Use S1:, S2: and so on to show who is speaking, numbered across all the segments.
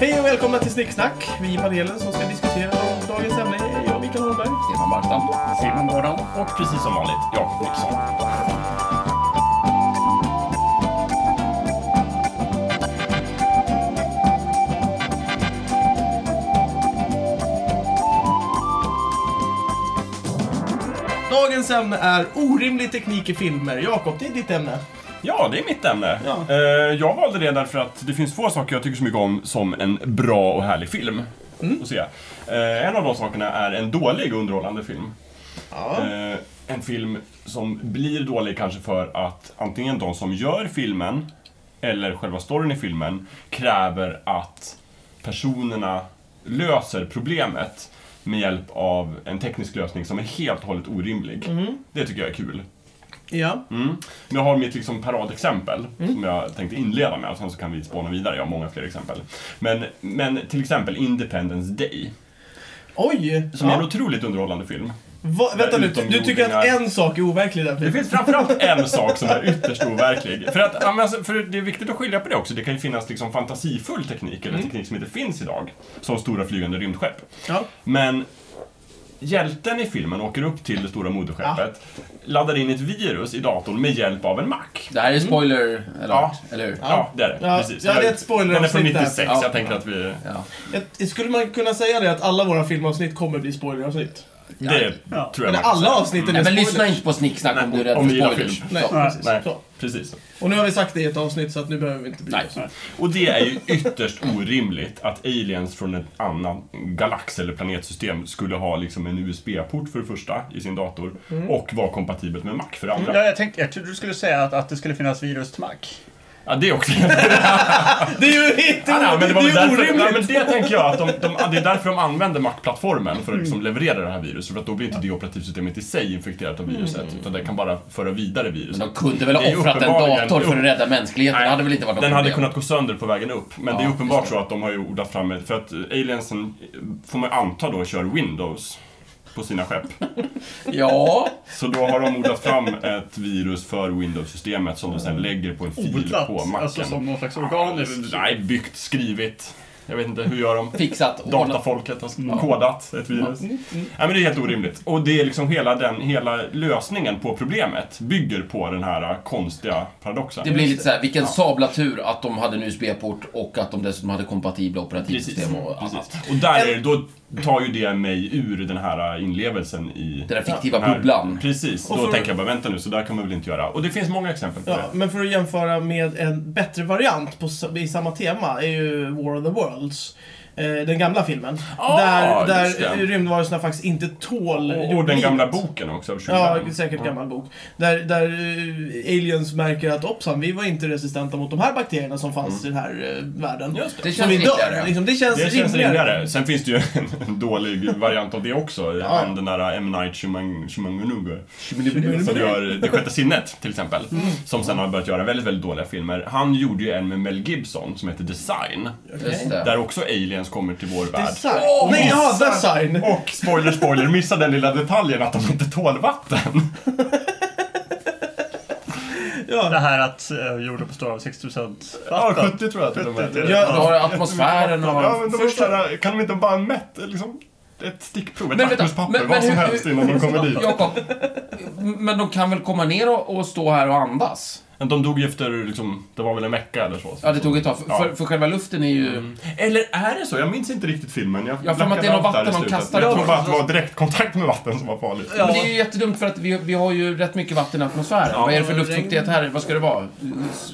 S1: Hej och välkomna till Snicksnack. Vi i panelen som ska diskutera om dagens ämne är jag, Mikael Holmberg.
S2: Stefan Barstam, Simon Nordahl.
S3: Och precis som vanligt, Jakob Nilsson.
S1: Dagens ämne är orimlig teknik i filmer. Jakob, det är ditt ämne.
S3: Ja, det är mitt ämne.
S1: Ja.
S3: Eh, Jag valde det därför att det finns få saker jag tycker så mycket om som en bra och härlig film.
S1: Mm.
S3: Att se. Eh, En av de sakerna är en dålig och underhållande film.
S1: Ja.
S3: Eh, En film som blir dålig kanske för att antingen de som gör filmen eller själva storyn i filmen kräver att personerna löser problemet med hjälp av en teknisk lösning som är helt och hållet orimlig.
S1: Mm.
S3: Det tycker jag är kul.
S1: ja.
S3: Mm. Men Jag har mitt liksom paradexempel som jag tänkte inleda med och sen så kan vi spåna vidare. Jag har många fler exempel. Men, men till exempel Independence Day.
S1: Oj!
S3: Som är en
S1: ja.
S3: otroligt underhållande film.
S1: Va, vänta nu, du, du tycker att en sak är overklig i den
S3: Det
S1: filmen?
S3: finns framförallt en sak som är ytterst overklig. För, att, ja, men alltså, för det är viktigt att skilja på det också. Det kan ju finnas liksom fantasifull teknik, eller teknik som inte finns idag. Som stora flygande rymdskepp.
S1: Ja.
S3: Men hjälten i filmen åker upp till det stora moderskeppet, laddar in ett virus i datorn med hjälp av en Mac.
S2: Det här är spoiler alert, eller hur?
S3: Ja, det är det.
S1: Ja,
S3: Precis.
S1: ja, det är ett
S3: Den är från
S1: spoileravsnitt där.
S3: 96,
S2: Ja.
S3: jag tänker att vi...
S2: Ja.
S1: Ett- Skulle man kunna säga det att alla våra filmavsnitt kommer bli spoileravsnitt?
S3: Det tror jag
S1: Eller
S3: man kan
S1: alla
S3: säga.
S1: avsnitten är
S2: Nej, men
S1: spoilers.
S2: lyssna inte på snicksnack om
S3: Nej,
S2: du är rädd
S3: om
S2: för
S3: ni gillar
S2: spoilers.
S3: film.
S1: Nej,
S2: Så.
S1: precis.
S3: Nej,
S1: Så.
S3: precis.
S1: Och nu har vi sagt det i ett avsnitt så att nu behöver vi inte bry
S2: Nej.
S1: oss.
S3: Och det är ju ytterst orimligt att aliens från ett annat galax eller planetsystem skulle ha liksom en USB-port för det första i sin dator
S1: Mm.
S3: och vara kompatibelt med Mac för det andra.
S4: Ja, jag, tänkte, jag trodde du skulle säga att, att det skulle finnas virus till Mac.
S3: Ja, det också.
S1: Det är ju inte
S3: Ja, men det,
S1: det
S3: var väl
S1: är ju
S3: därför, ja, men
S1: orimligt!
S3: det tänker jag att de, de, det är därför de använder Mac-plattformen för att
S1: Mm.
S3: liksom leverera det här viruset. För att då blir inte det operativsystemet i sig infekterat av
S1: Mm.
S3: viruset utan det kan bara föra vidare viruset.
S2: Men de kunde väl
S3: Det är
S2: ha
S3: ju
S2: offrat en
S3: uppenbarligen-
S2: dator för att rädda mänskligheten?
S3: Nej,
S2: det hade väl inte varit något
S3: Den hade
S2: problem?
S3: kunnat gå sönder på vägen upp, men det är
S2: Ja,
S3: uppenbart
S2: just det.
S3: så att de har ju ordat fram ett, För att aliensen, eh, får man ju anta då, kör Windows på sina skepp.
S2: Ja,
S3: Så då har de ordat fram ett virus för Windows-systemet som de sen
S2: Mm.
S3: lägger på en fil på
S4: Odlat,
S3: macken.
S4: alltså som typ. någon slags organisk...
S3: Nej, byggt, skrivit. Jag vet inte, hur gör de?
S2: fixat. och ordnat.
S3: Datafolket har kodat ett virus.
S2: Mm,
S3: Nej, men det är helt orimligt. Och det är liksom hela, den, hela lösningen på problemet bygger på den här eh, konstiga paradoxen.
S2: Det blir lite såhär, vilken sabla tur att de hade en USB-port och att de dessutom hade kompatibla operativsystem och annat.
S3: precis. Och där är, det- då tar ju det mig ur den här inlevelsen i...
S2: Den där fiktiva
S3: den här-
S2: bubblan.
S3: Precis,
S1: Och
S3: då
S1: för-
S3: tänker jag bara vänta nu, så där kan man väl inte göra. Och det finns många exempel på
S1: Ja,
S3: det.
S1: men för att jämföra med en bättre variant på, s- i samma tema är ju War of the Worlds. Eh, den gamla filmen.
S3: Ah,
S1: där
S3: just
S1: där
S3: det.
S1: rymdvarelserna faktiskt inte tål
S3: Och, och
S1: jordelivet.
S3: den gamla boken också, av
S1: Ja,
S3: Schulman.
S1: säkert gammal bok. Där, där eh, aliens märker att hoppsan, vi var inte resistenta mot de här bakterierna som fanns i den här eh, världen.
S3: Mm. Just det.
S2: Det
S1: Som
S2: känns
S1: vi dör.
S2: riktigare.
S1: Liksom, det känns,
S3: Det känns
S1: rimligare.
S3: rimligare. Sen finns det ju en, en dålig variant av det också. Han den där M. Night Shumang- Shumangonugo. Som gör Det sjätte sinnet, till exempel.
S1: Mm.
S3: Som sen har börjat göra väldigt, väldigt dåliga filmer. Han gjorde ju en med Mel Gibson som heter Design.
S2: Just det.
S3: Där också aliens kommer till vår värld.
S1: Design. Nej, ja, design.
S3: Och spoiler, spoiler, missa den lilla detaljen att de inte tål vatten.
S4: Det
S1: Ja.
S4: här att eh, jorden består av 60%
S3: Ja,
S4: vatten.
S3: 70 tror jag till och med.
S4: Ja,
S2: Du har atmosfären och...
S3: Ja, men de
S1: Första-
S3: första... såhär, kan de inte bara mäta liksom, ett stickprov, ett
S2: Men vänta,
S3: papperspapper,
S2: men- men
S3: vad som
S2: hur-
S3: helst innan de kommer dit?
S2: Jakob, men de kan väl komma ner och, och stå här och andas?
S3: Men de dog ju efter, liksom, det var väl en vecka eller så.
S2: Ja, det tog ett tag. För,
S3: Ja. Mm.
S2: för, för själva luften är ju...
S3: Eller är det så? Jag minns inte riktigt filmen. Jag
S2: Jag har för mig att det är något
S3: blackade
S2: vatten
S3: ut där i slutet.
S2: de kastar
S3: Jag
S2: ut.
S3: tror bara att det var direktkontakt med vatten som var farligt.
S2: Men det är ju jättedumt för att vi, vi har ju rätt mycket vatten i atmosfären.
S3: Ja.
S2: Vad är det för luftfuktighet här? Vad ska det vara?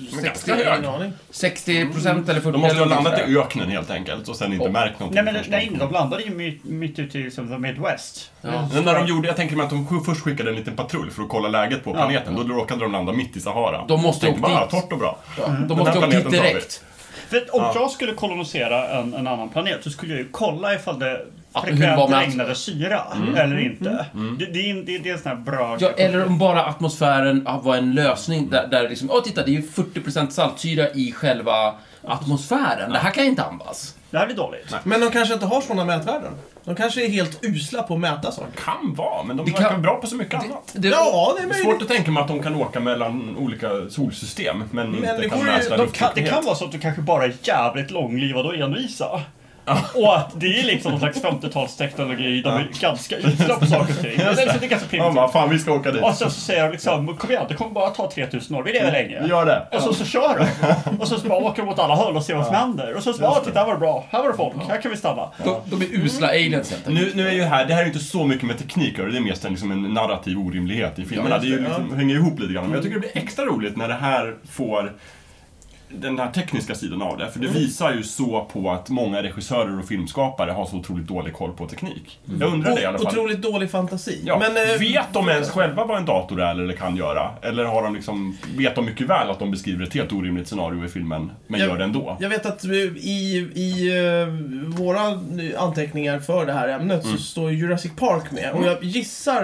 S3: ganska
S2: 60,
S3: hög.
S1: Ingen aning.
S2: 60 procent eller 40
S3: De måste ju ha
S2: eller
S3: landat
S2: någonting
S3: i öknen helt enkelt och sen inte
S2: Och-
S3: märkt någonting.
S4: Nej men nej, de landade ju mi- mitt ute i liksom, the Midwest. Mm.
S2: Ja. Mm.
S3: Men Alltså, när de gjorde, jag tänker mig att de sk- först skickade en liten patrull för att kolla läget på planeten. Då råkade de landa mitt i Sahara.
S2: De måste
S3: Tänkte
S2: åkt
S3: bara,
S2: dit."
S3: torrt och bra.
S2: sådär. Ja.
S3: Den
S2: Mm. De måste
S3: här
S2: åka dit
S3: planeten tar vi.
S2: direkt.
S4: För att om jag skulle kolonisera en, en annan planet så skulle jag ju kolla ifall det
S2: Att- Mm. hur det
S4: frekvent
S2: var med-
S4: regnade syra eller inte. Det, det, är en- det, det är en sån här bra...
S2: Mm. Ja, eller om bara atmosfären ja, var en lösning där, där liksom, åh titta, det är ju 40% saltsyra i själva atmosfären. Det här kan jag inte andas.
S4: Det här blir dåligt.
S3: Nej.
S1: Men de kanske inte har sådana mätvärden. De kanske är helt usla på att mäta saker.
S3: Kan vara, men de
S2: Det
S3: verkar
S2: kan-
S3: bra på så mycket annat.
S2: Det,
S1: Ja, det är
S3: Det är
S1: möjligt.
S3: svårt att tänka mig att de kan åka mellan olika solsystem, men,
S1: det
S3: inte kan
S1: vore ju-
S3: mäta
S1: de
S4: Kan, det
S3: luftfuktighet.
S4: kan vara så att du kanske bara är jävligt långlivad och envisa. Och att det är liksom någon slags 50-talsteknologi. De är ganska usla på saker och ting. Men det är liksom- det är ganska
S3: Ja,
S4: primitivt.
S3: vad fan, vi ska åka dit.
S4: Och sen så säger de liksom, kom igen, det kommer bara ta 3000 år, vi lever
S2: Mm.
S4: länge.
S3: Vi gör det.
S4: Och så, så kör de. Och så, så bara åker de åt alla håll och ser vad som händer. Och så, så bara, "Ah, titta här var det bra, här var det folk, här kan vi stanna.
S2: de, de är usla aliens helt enkelt.
S3: Nu, nu är ju här, det här är ju inte så mycket med teknik, hörru. det är mest en, liksom en narrativ orimlighet i filmerna.
S2: Ja,
S3: det
S2: just
S3: är ju
S2: det,
S3: liksom, hänger ihop lite grann. Men jag
S1: Mm.
S3: tycker det blir extra roligt när det här får den här tekniska sidan av det. För
S1: Mm.
S3: det visar ju så på att många regissörer och filmskapare har så otroligt dålig koll på teknik. Jag undrar det i alla
S1: Mm. Och,
S3: fall.
S1: otroligt dålig fantasi.
S3: Ja,
S1: Men, eh,
S3: vet de ens själva vad en dator är eller kan göra? Eller har de liksom, vet de mycket väl att de beskriver ett helt orimligt scenario i filmen, men
S1: Jag-
S3: gör det ändå?
S1: Jag vet att eh, i, i eh, våra anteckningar för det här ämnet
S3: Mm.
S1: så står ju Jurassic Park med. Och jag gissar,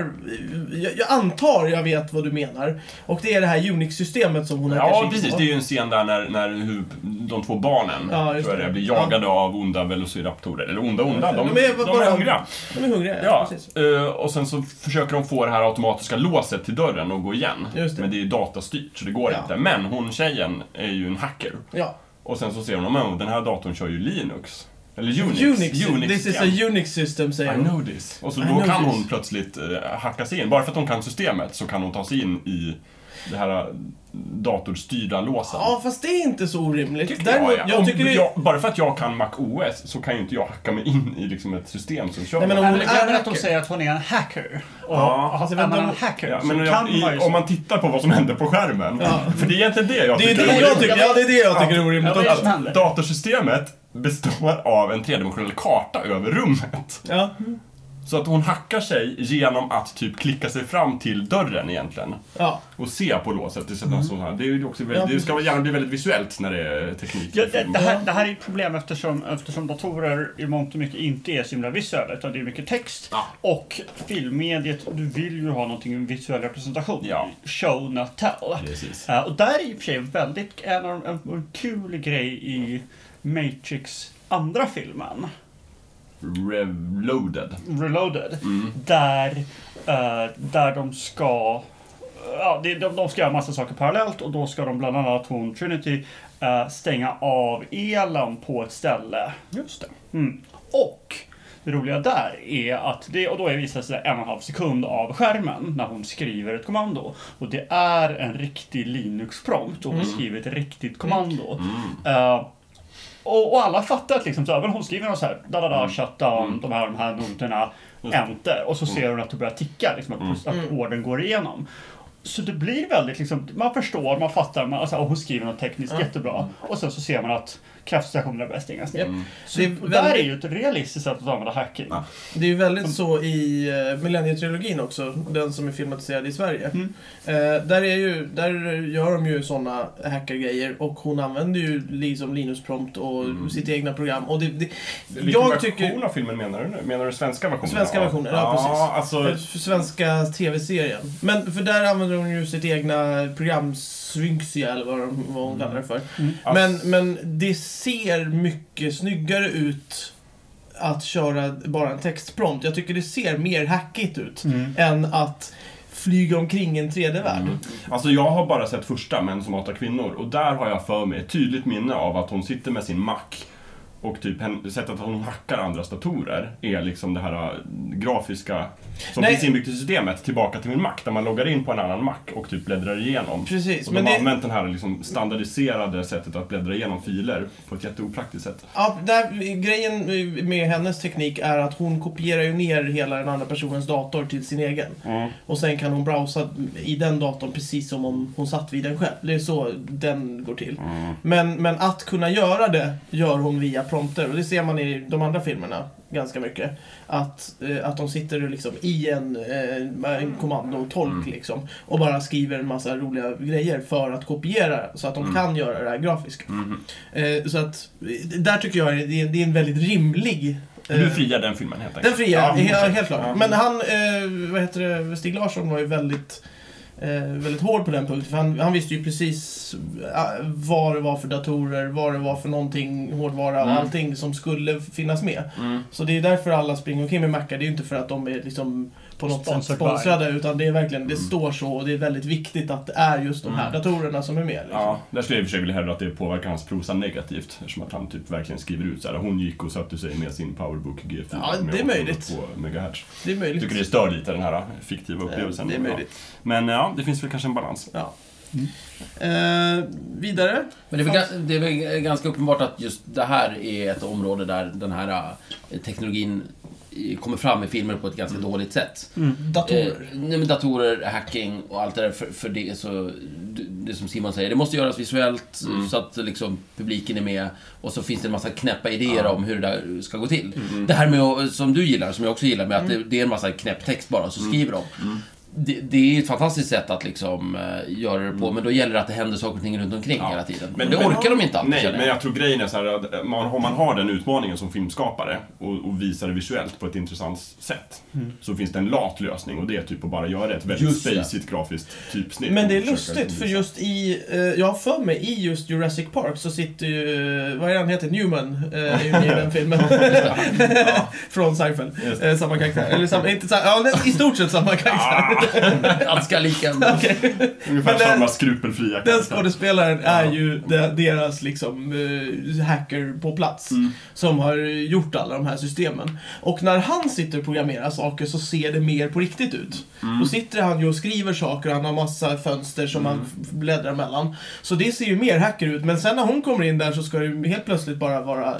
S1: eh, jag, jag antar jag vet vad du menar. Och det är det här Unix-systemet som hon hackar sig
S3: Ja,
S1: in
S3: precis.
S1: på.
S3: Det är ju en scen där när, när hur, de två barnen
S1: Ja, just
S3: tror jag det, är,
S1: det.
S3: blir jagade av onda velociraptorer. Eller onda, onda. De,
S1: De är
S3: de,
S1: bara-
S3: är hungriga.
S1: De är hungriga, ja.
S3: Ja,
S1: Precis.
S3: eh, och sen så försöker de få det här automatiska låset till dörren att gå igen.
S1: Just det.
S3: Men det är ju datastyrt, så det går
S1: Ja.
S3: inte. Men hon tjejen är ju en hacker.
S1: Ja.
S3: Och sen så ser hon att den här datorn kör ju Linux. Eller Unix.
S1: Unix, this is
S3: igen.
S1: a Unix system säger
S3: I
S1: hon.
S3: know this. Och så
S1: I
S3: då
S1: know
S3: kan
S1: this.
S3: hon plötsligt eh, hacka sig in. Bara för att hon kan systemet så kan hon ta sig in i det här eh, datorstyrda låsen.
S1: Ja, fast det är inte så orimligt.
S3: Tycker
S1: Däremot,
S3: jag, ja.
S1: jag
S3: om,
S1: tycker det...
S3: jag, bara för att jag kan Mac OS så kan ju inte jag hacka mig in i liksom ett system som kör.
S1: Nej, men om-
S3: det.
S4: Men det är väl att de
S1: hacker.
S4: säger att hon är en hacker. Och
S3: Ja,
S4: ja,
S1: alltså,
S4: är
S1: men
S4: man
S1: de-
S4: en hacker
S3: ja,
S4: så
S3: men
S4: kan
S3: jag,
S4: man
S3: i,
S4: ju...
S3: om man tittar på vad som händer på skärmen.
S1: Ja.
S3: För det är egentligen det jag
S1: Det är
S3: tycker
S1: det
S3: är
S1: jag
S3: roligt.
S1: tycker, ja, det är det jag tycker är orimligt.
S4: Ja, men-
S1: också.
S4: händer.
S3: Att datorsystemet består av en tredimensionell karta över rummet.
S1: Ja.
S3: Så att hon hackar sig genom att typ klicka sig fram till dörren egentligen.
S1: Ja.
S3: och se på låset. Det, mm. sånt här. det, är ju också väldigt,
S1: Ja,
S3: det ska gärna bli väldigt visuellt när det är teknik. i
S4: Ja, det,
S3: film.
S4: det, här, det här är ett problem eftersom, eftersom datorer i mångt och mycket inte är så himla visuella utan det är mycket text.
S3: Ja.
S4: Och filmmediet, du vill ju ha någonting, en visuell representation.
S3: Ja.
S4: Show, not tell.
S3: Precis.
S4: Eh, och där är i och för sig väldigt, en, av de- en, en kul grej i Matrix andra filmen.
S3: Reloaded.
S4: Reloaded. Där, eh, där de ska... Ja, det- de, de ska göra massa saker parallellt och då ska de bland annat hon Trinity eh, stänga av elen på ett ställe.
S3: Just det.
S4: Mm. Och det roliga där är att det, och då är visar sig en och en halv sekund av skärmen när hon skriver ett kommando. Och det är en riktig Linux-prompt och hon skriver ett riktigt kommando. Eh, och, och alla fattar att liksom, så här, men hon skriver något så här, da da da, shut down, de här, de här noterna, enter. Och så ser hon att det börjar ticka, liksom, att, att orden går igenom. Så det blir väldigt liksom, man förstår, man fattar, man, alltså, och hon skriver något tekniskt jättebra. Och sen så ser man att kraftstationerna börjar stängas ner.
S1: Japp.
S4: Så
S1: Det är
S4: och där är
S1: väldigt-
S4: ju ett realistiskt sätt att använda hacking.
S3: Ja.
S1: Det är ju väldigt så i eh, Millennietrilogin också, den som är filmatiserad i Sverige. Eh, där, är ju, där gör de ju sådana hackergrejer och hon använder ju liksom Linus-prompt och sitt egna program. Och det, det,
S3: Vilken
S1: jag tycker...
S3: version av filmen menar du nu? Menar du svenska versionen?
S1: Svenska versionen, ja,
S3: ja alltså...
S1: eh, för Svenska TV-serien. Men för där använder hon ju sitt egna program, Svynxia eller vad, de- vad hon kallar det för.
S3: alltså,
S1: Men, men det ser mycket snyggare ut att köra bara en textprompt. Jag tycker det ser mer hackigt ut än att flyga omkring i en 3D-värld.
S3: Alltså jag har bara sett första, Män som hatar kvinnor, och där har jag för mig ett tydligt minne av att hon sitter med sin Mac och typ hen- sättet att hon hackar andras datorer är liksom det här äh, grafiska som
S1: Nej.
S3: finns inbyggt i systemet tillbaka till min Mac där man loggar in på en annan Mac och typ bläddrar igenom.
S1: Precis,
S3: och
S1: men
S3: de har
S1: det-
S3: använt det här liksom standardiserade sättet att bläddra igenom filer på ett jätteopraktiskt sätt.
S1: Ja, där, grejen med hennes teknik är att hon kopierar ju ner hela den andra personens dator till sin egen. Och sen kan hon browsa i den datorn precis som om hon satt vid den själv. Det är så den går till. Men, men att kunna göra det gör hon via prompter. Och det ser man i de andra filmerna ganska mycket. Att, eh, att de sitter liksom i en, eh, en kommandotolk liksom. Och bara skriver en massa roliga grejer för att kopiera så att de kan göra det här grafiska. Eh, så att, eh, där tycker jag det är, det är en väldigt rimlig... eh,
S3: Du friar den filmen helt enkelt.
S1: den fria,
S3: Ja,
S1: he-
S3: okej.
S1: helt klart.
S3: Ja.
S1: Men han, eh, vad heter det, Stig Larsson var ju väldigt eh, väldigt hård på den punkten. För han, han visste ju precis eh, vad det var för datorer, vad det var för någonting, hårdvara och
S2: Mm.
S1: allting som skulle finnas med.
S2: Mm.
S1: Så det är därför alla springer omkring med mackar. Det är ju inte för att de är liksom på något
S4: Sponsored
S1: sätt
S4: by.
S1: sponsrade utan det är verkligen,
S3: Mm.
S1: det står så och det är väldigt viktigt att det är just de här
S2: Mm.
S1: datorerna som är med. Liksom.
S3: Ja, där skulle jag i och för sig vilja hävda att det påverkar hans prosa negativt eftersom att han typ verkligen skriver ut så här. Hon gick och satte sig med sin Powerbook G4
S1: Ja,
S3: med
S1: det är
S3: 802
S1: möjligt.
S3: megahertz.
S1: Det är
S3: Jag
S1: möjligt.
S3: tycker det stör lite den här äh, fiktiva
S1: Eh,
S3: upplevelsen.
S1: det är
S3: Ja.
S1: möjligt.
S3: Men ja, det finns väl kanske en balans.
S1: Ja. Eh, vidare.
S2: Men det är, väl, ga- det är väl ganska uppenbart att just det här är ett område där den här eh, teknologin eh, kommer fram i filmer på ett ganska dåligt sätt.
S1: Datorer.
S2: Eh, nej, men datorer, hacking och allt det där. För, för det är så... Det det som Simon säger, det måste göras visuellt
S3: Mm.
S2: så att liksom, publiken är med. Och så finns det en massa knäppa idéer om hur det där ska gå till.
S3: Mm.
S2: Det här med, att- som du gillar, som jag också gillar, med att det, det är en massa knäpp text bara, så
S3: Mm.
S2: skriver de. Det, det är ett fantastiskt sätt att liksom eh, göra det på, men då gäller det att det händer saker och ting runt omkring
S3: Mm. Ja.
S2: hela tiden. Men
S3: Men-
S2: det
S3: men-
S2: orkar de inte alltid,
S3: Nej,
S2: känner
S3: men jag tror grejen är så här att äh, man, om man har den utmaningen som filmskapare och, och visar det visuellt på ett intressant sätt
S1: Mm.
S3: så finns det en lat lösning och det är typ att bara göra ett väldigt
S2: Just det.
S3: spacigt grafiskt typsnitt.
S1: Eh, Men det är
S3: och försöka liksom-
S1: lustigt för
S3: visa.
S1: just i, eh, jag har för mig, i just Jurassic Park så sitter ju, eh, vad är han heter, Newman, eh, är ju med i den filmen. Från Seinfeld.
S3: Just
S1: Eh, samma karaktär. Eller samma, inte samma, ja, nej, i stort sett samma karaktär.
S2: Allt ska lika.
S3: Ungefär
S1: Men det-
S3: samma skrupelfria
S1: Den
S3: karaktär.
S1: skådespelaren är ju de, deras liksom eh, hacker på plats.
S2: Mm.
S1: Som har gjort alla de här systemen. Och när han sitter och programmerar saker så ser det mer på riktigt ut.
S2: Mm.
S1: Då sitter han ju och skriver saker och han har massa fönster som
S2: Mm.
S1: han f- bläddrar mellan. Så det ser ju mer hacker ut. Men sen när hon kommer in där så ska det ju helt plötsligt bara vara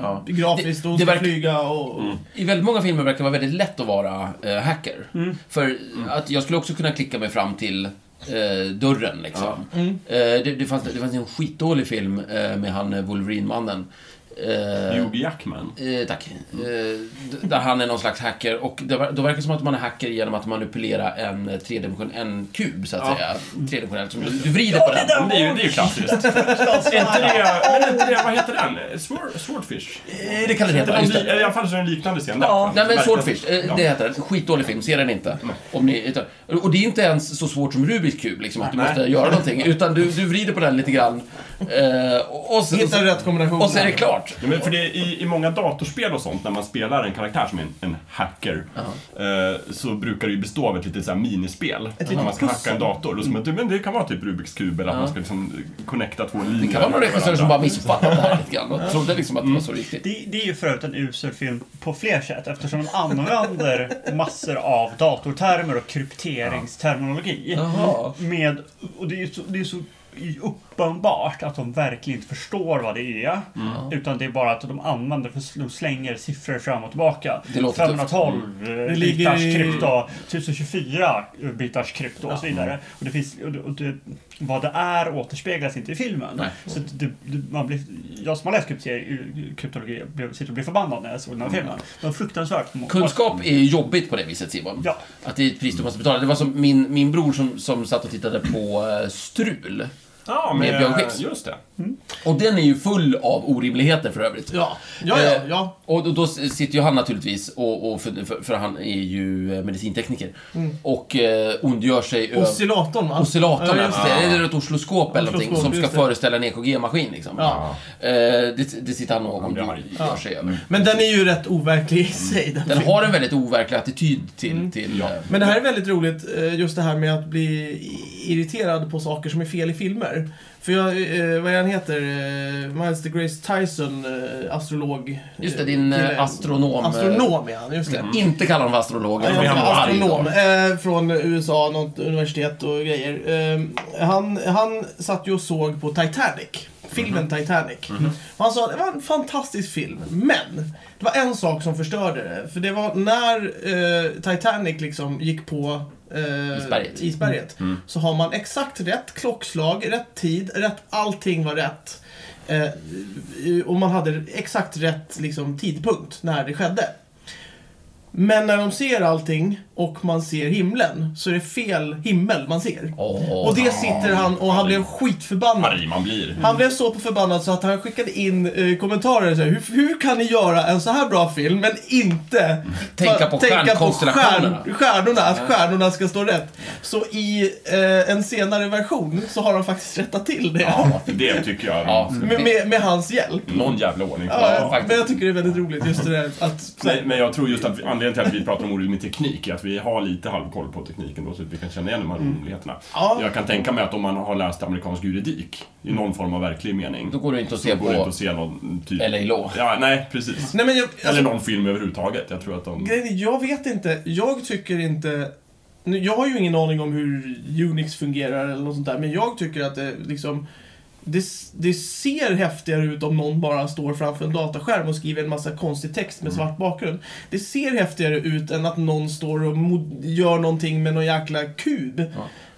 S2: Ja.
S1: grafiskt och hon
S2: Det-
S1: ska
S2: Mm. det verkar-
S1: flyga och...
S2: I väldigt många filmer verkar det vara väldigt lätt att vara eh, hacker.
S3: Mm.
S2: För att jag skulle också kunna klicka mig fram till eh, dörren liksom.
S3: Mm.
S2: Eh, det, det, fanns, det fanns en skitdålig film eh, med han eh, Wolverine-mannen. Eh,
S3: Hugh Jackman.
S2: Eh, tack. Eh, d- där han är någon slags hacker. Och det, ver- då verkar det som att man är hacker genom att manipulera en eh, tredimension, en kub så att
S3: Ja.
S2: säga. Tredimensionell. Som du, du vrider på den.
S3: Men Det är ju, det är ju klassiskt. Är inte det, men är inte det, vad heter den? Sword, swordfish?
S2: Eh, Det kan det heta, just det.
S3: I alla fall så är det en liknande scen där.
S4: Ja.
S2: Nej men
S3: Verkligen.
S2: Swordfish, eh,
S3: Ja.
S2: det heter den. Skitdålig film, se den inte. Om ni, utan- och det är inte ens så svårt som Rubiks kub, liksom, att du
S3: Nej.
S2: måste göra någonting. Utan du, du vrider på den lite grann. Eh, och, och, sen,
S1: Hittar rätt kombination.
S2: och så är det klart.
S3: Ja, men för det är, i, I många datorspel och sånt, när man spelar en karaktär som är en, en hacker, eh, så brukar det ju bestå av ett litet så här minispel. när man ska hacka en dator. Då ska man, du, men det kan vara typ Rubiks kub eller att man ska liksom connecta två linjer.
S2: Det kan vara någon
S3: med
S2: regissör som
S3: varandra.
S2: bara missuppfattat det här lite grann och trodde liksom att det var så riktigt.
S4: Det, det är ju förut en usel film på fler sätt eftersom de använder massor av datortermer och krypteringsterminologi.
S2: Jaha.
S4: Med, och det är ju så, det är så uppenbart att de verkligen inte förstår vad det är. Utan det är bara att de använder, för de slänger siffror fram och tillbaka.
S2: Det låter tufft.
S4: 512
S1: Det
S4: eh,
S1: ligger
S4: bitars
S1: i-
S4: krypto, 1024 bitars krypto och så vidare. Och det finns, och det, och det, vad det är återspeglas inte i filmen.
S2: Nej.
S4: Så att det, det, man blir, jag som har läst kryptologi, kryptologi jag blev, sitter och blir förbannad när jag såg den här filmen. Det var fruktansvärt. många-
S2: Mm. Kunskap är ju jobbigt på det viset Simon.
S4: Ja.
S2: Att det är ett pris du måste betala. Det var som min, min bror som, som satt och tittade på eh, Strul.
S3: Ja,
S2: med
S3: med,
S2: Björn Skifs.
S3: Just det.
S2: Och den är ju full av orimligheter för övrigt.
S1: Ja, ja, ja.
S2: Eh,
S1: ja.
S2: Och då, då sitter ju han naturligtvis, och, och för, för, för han är ju eh, medicintekniker,
S1: Mm.
S2: och eh, ondgör sig över...
S1: Oscillatorn va?
S2: Oscillatorn,
S1: Ja,
S2: ja,
S1: just
S2: det. Är det ett oscilloskop eller någonting som
S1: Oscilloskop,
S2: ska
S1: just det.
S2: föreställa en EKG-maskin liksom?
S1: Ja.
S2: Eh, det, det sitter han och
S3: Han Mm. blir arg.
S2: ondgör sig över.
S1: Men den är ju rätt overklig i sig. Den
S2: Den
S1: filmen.
S2: har en väldigt overklig attityd till...
S1: Mm.
S2: till
S3: Ja.
S2: eh,
S1: Men det här är väldigt roligt, eh, just det här med att bli irriterad på saker som är fel i filmer. För jag, eh, vad är han heter, eh, Miles de Grace Tyson, eh, astrolog.
S2: Just det, din, eh, Mm.
S1: kille.
S2: astronom, eh,
S1: Astronom är han, just det.
S2: Inte kalla honom för astrolog,
S1: Ja,
S2: jag tror
S1: jag
S2: han
S1: var
S2: var arg då.
S1: astronom eh, från USA, något universitet och grejer. Eh, han, han satt ju och såg på Titanic. Filmen
S2: Mhm.
S1: Titanic. Och han sa det var en fantastisk film, men det var en sak som förstörde det. För det var när eh, Titanic liksom gick på eh,
S2: Isberget.
S1: isberget,
S2: Mm.
S1: Så har man exakt rätt klockslag, rätt tid, rätt, allting var rätt. Eh, och man hade exakt rätt liksom, tidpunkt när det skedde. Men när de ser allting och man ser himlen så är det fel himmel man ser.
S2: Åh,
S1: Och det sitter han och han blev skitförbannad.
S3: Arg man blir.
S1: Han blev så förbannad så att han skickade in eh, kommentarer så här, hur, hur kan ni göra en så här bra film men inte
S2: Tänka på stjärnkonstellationerna."
S1: stjärn- stjärnorna, att stjärnorna ska stå rätt. Så i eh, en senare version så har han faktiskt rättat till det.
S3: Det tycker jag.
S2: ja,
S1: Med, med, med hans hjälp.
S3: Någon jävla ordning.
S1: Ja,
S2: faktiskt.
S1: men jag tycker det är väldigt roligt just det där att...
S3: Nej, men jag tror just att vi- anledningen till att vi pratar om orimlig teknik är att vi har lite halvkoll på tekniken då så att vi kan känna igen de här orimligheterna.
S1: Ja.
S3: Jag kan tänka mig att om man har läst amerikansk juridik i någon form av verklig mening.
S2: Då går det inte att
S3: så
S2: se
S3: går det inte
S2: på
S3: att se någon typ...
S2: LA Law.
S3: Ja, nej, precis.
S1: Nej, men jag, alltså,
S3: Eller någon film överhuvudtaget. Jag tror att de...
S1: Grejen är, jag vet inte. Jag tycker inte... nu, Jag har ju ingen aning om hur Unix fungerar eller något sånt där, men jag tycker att det liksom... Det, s- det ser häftigare ut om någon bara står framför en dataskärm och skriver en massa konstig text med
S2: Mm.
S1: svart bakgrund. Det ser häftigare ut än att någon står och mod- gör någonting med någon jäkla kub.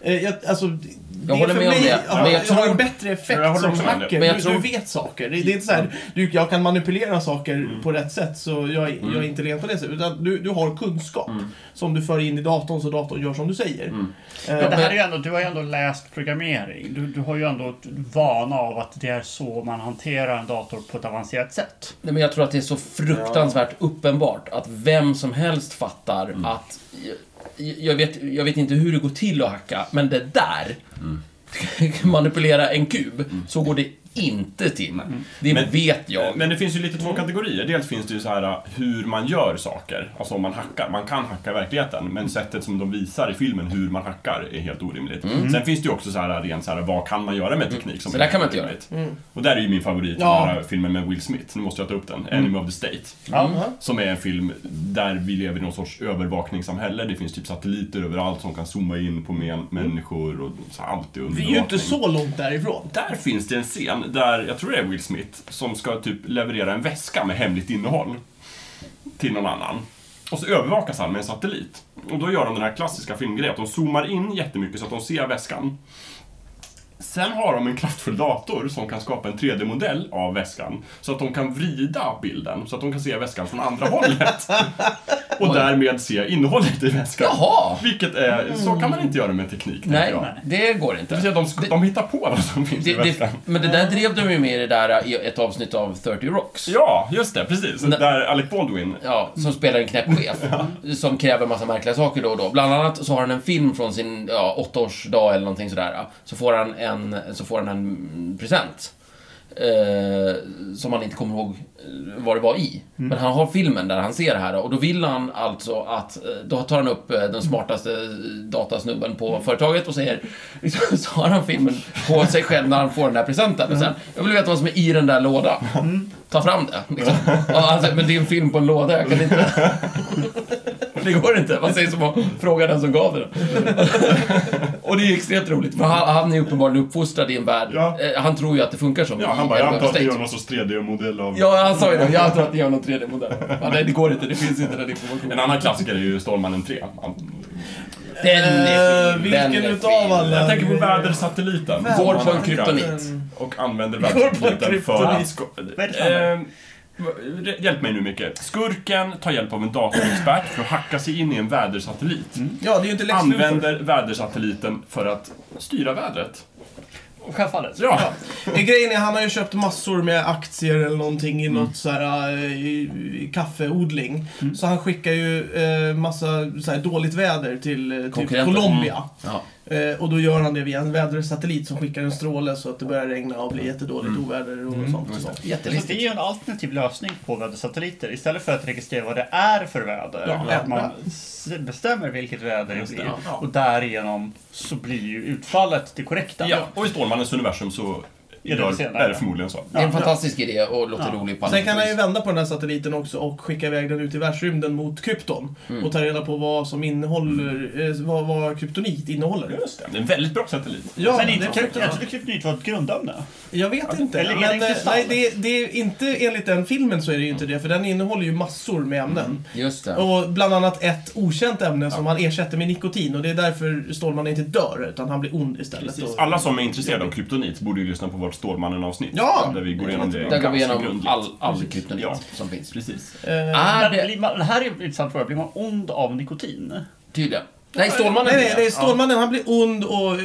S1: Eh, Jag, alltså, det- det
S2: håller
S1: för
S2: med om
S1: mig,
S2: det,
S1: Ja,
S2: men jag
S1: jag har
S2: tror-
S1: en bättre effekt
S3: Jag håller
S1: som
S3: också med om det.
S1: hacker.
S2: Men jag
S1: du,
S2: tror-
S1: du vet saker. Det, det är inte så här, du, jag kan manipulera saker
S3: Mm.
S1: på rätt sätt så jag, jag är inte lent på det sättet. Utan du, du har kunskap
S3: Mm.
S1: som du för in i datorn så datorn gör som du säger. Eh,
S4: Men det här är ju ändå, du har ju ändå läst programmering. Du, du har ju ändå ett vana av att det är så man hanterar en dator på ett avancerat sätt.
S2: Nej, men jag tror att det är så fruktansvärt uppenbart att vem som helst fattar att... Jag, jag, vet, jag vet inte hur det går till att hacka, men det där... manipulera en kub, så går det inte till. Det
S3: Men-
S2: vet jag.
S3: Eh, Men det finns ju lite två kategorier. Dels finns det ju så här uh, hur man gör saker, alltså om man hackar. Man kan hacka i verkligheten, men sättet som de visar i filmen hur man hackar är helt orimligt. Sen finns det ju också så här uh, rent så här, vad kan man göra med teknik som är
S2: Så där kan man inte
S3: orimligt. Och där är ju min favorit,
S1: Ja.
S3: den här eh, filmen med Will Smith, nu måste jag ta upp den, Enemy of the State.
S2: Mm.
S1: Aha.
S3: Som är en film där vi lever i någon sorts övervakningssamhälle. Det finns typ satelliter överallt som kan zooma in på men- människor och så här, allt
S1: Vi
S3: är undervakning.
S1: är ju inte så långt därifrån.
S3: Där finns det en scen där, jag tror det är Will Smith, som ska typ leverera en väska med hemligt innehåll till någon annan. Och så övervakas han med en satellit. Och då gör de den här klassiska filmgrejen, att de zoomar in jättemycket så att de ser väskan. Sen har de en kraftfull dator som kan skapa en 3D-modell av väskan så att de kan vrida bilden så att de kan se väskan från andra hållet. Och därmed se innehållet i väskan.
S2: Jaha!
S3: Vilket är, så kan man inte göra med teknik, tänker
S2: Nej,
S3: jag.
S2: det går
S3: Det
S2: inte.
S3: vill säga, de, sk- de hittar på vad som finns i
S2: Det,
S3: väskan.
S2: det, men det där drev de ju med i det där, i ett avsnitt av 30 Rocks.
S3: Ja, just det, precis.
S2: Nej.
S3: Där Alec Baldwin.
S2: Ja, som spelar en knäpp chef. Som kräver massa märkliga saker då och då. Bland annat så har han en film från sin ja, åttaårsdag eller någonting sådär. Så får han en, så får han en present. Eh, som han inte kommer ihåg eh, vad det var i. Men han har filmen där han ser det här då, och då vill han alltså att, eh, då tar han upp eh, den smartaste eh, datasnubben på företaget och säger, liksom, så, så har han filmen på sig själv när han får den här presenten. Och sen, jag vill veta vad som är i den där lådan. Ta fram det. Liksom. Ja, alltså, men det är en film på en låda, jag kan inte... Det går inte. Man säger som att fråga den som gav den. Och det är ju extremt roligt, för han, han är uppenbarligen uppfostrad i en värld.
S3: Ja.
S2: Eh, Han tror ju att det funkar så.
S3: Ja, han bara, jag antar att det gör någon sorts 3D-modell av...
S2: Ja, han sa ju det. Jag antar att ni gör någon 3D-modell. Ja, nej, det går inte. Det finns inte den informationen.
S3: En annan klassiker är ju Stålmannen 3. Han-
S2: Den är
S1: Eh,
S2: fin. Den
S1: vilken
S2: är
S1: utav
S2: fin.
S1: alla?
S3: Jag tänker på vädersatelliten.
S2: Går
S3: Man
S2: på en
S3: hackar
S2: kryptonit.
S3: Och använder
S1: på en
S3: vädersatelliten för att...
S1: kryptonit.
S3: sko-
S4: Vad är det för
S3: Ehm, re- Hjälp mig nu mycket. Skurken tar hjälp av en datorexpert för att hacka sig in i en vädersatellit.
S2: Mm.
S1: Ja, det är ju inte Lex Luthor.
S3: Använder vädersatelliten för att styra vädret.
S4: Självfallet.
S3: Ja,
S1: Eh, Grejen är han har ju köpt massor med aktier eller någonting
S3: Mm.
S1: i något så här, eh, i- i kaffeodling. Så han skickar ju eh, massa så här, dåligt väder till eh, typ
S2: Konkurrenter. Mm.
S1: Colombia.
S2: Ja.
S1: Eh, och då gör han det via en vädersatellit som skickar en stråle så att det börjar regna och blir
S4: Mm.
S1: jättedåligt oväder och sånt. Och sånt.
S4: Så Mm. Alltså, det är
S2: Jättelistigt.
S4: ju en alternativ lösning på vädersatelliter. Istället för att registrera vad det är för väder.
S1: Ja.
S4: att man s- bestämmer vilket väder det blir.
S1: ja.
S4: Och därigenom så blir ju utfallet det korrekta.
S3: ja. Och i Stålmannens universum så
S4: det
S3: gör,
S4: senare.
S3: är det förmodligen så.
S2: Det är en fantastisk idé och låter rolig på alla
S1: Sen kan han ju
S2: vis.
S1: vända på den här satelliten också och skicka iväg den ut i världsrymden mot krypton.
S4: Mm.
S1: Och ta reda på vad som innehåller, eh, vad, vad kryptonit innehåller.
S3: Just det. Det är en väldigt bra satellit.
S1: Ja,
S4: Men
S1: det
S4: inte,
S1: tycker
S4: jag
S1: jag.
S4: trodde kryptonit var ett grundämne.
S1: Jag vet inte.
S4: Eller är det
S1: men,
S4: en
S1: eh,
S4: kristall? Mm.
S1: nej, det, det är inte, enligt den filmen så är det ju inte det, för den innehåller ju massor med ämnen.
S2: Just det.
S1: Och bland annat ett okänt ämne som han ersätter med nikotin och det är därför Stålman inte dör utan han blir ond istället. Och,
S3: Alla som är intresserade av kryptonit borde ju lyssna på vårt Stålmannen-avsnitt.
S1: Ja!
S3: Där vi går igenom det
S2: Där går vi
S3: ganska
S2: igenom
S3: grundligt.
S2: all, all kryptonit
S3: Ja.
S2: som finns.
S3: Precis.
S1: Eh,
S2: Är
S4: Men
S2: Ah, det
S4: blir man, det här är en intressant fråga. Blir man ond av nikotin?
S2: tydligen? Nej, Stålmannen
S1: nej, nej,
S2: är
S1: det
S2: det.
S1: är Stålmannen. Han blir ond och...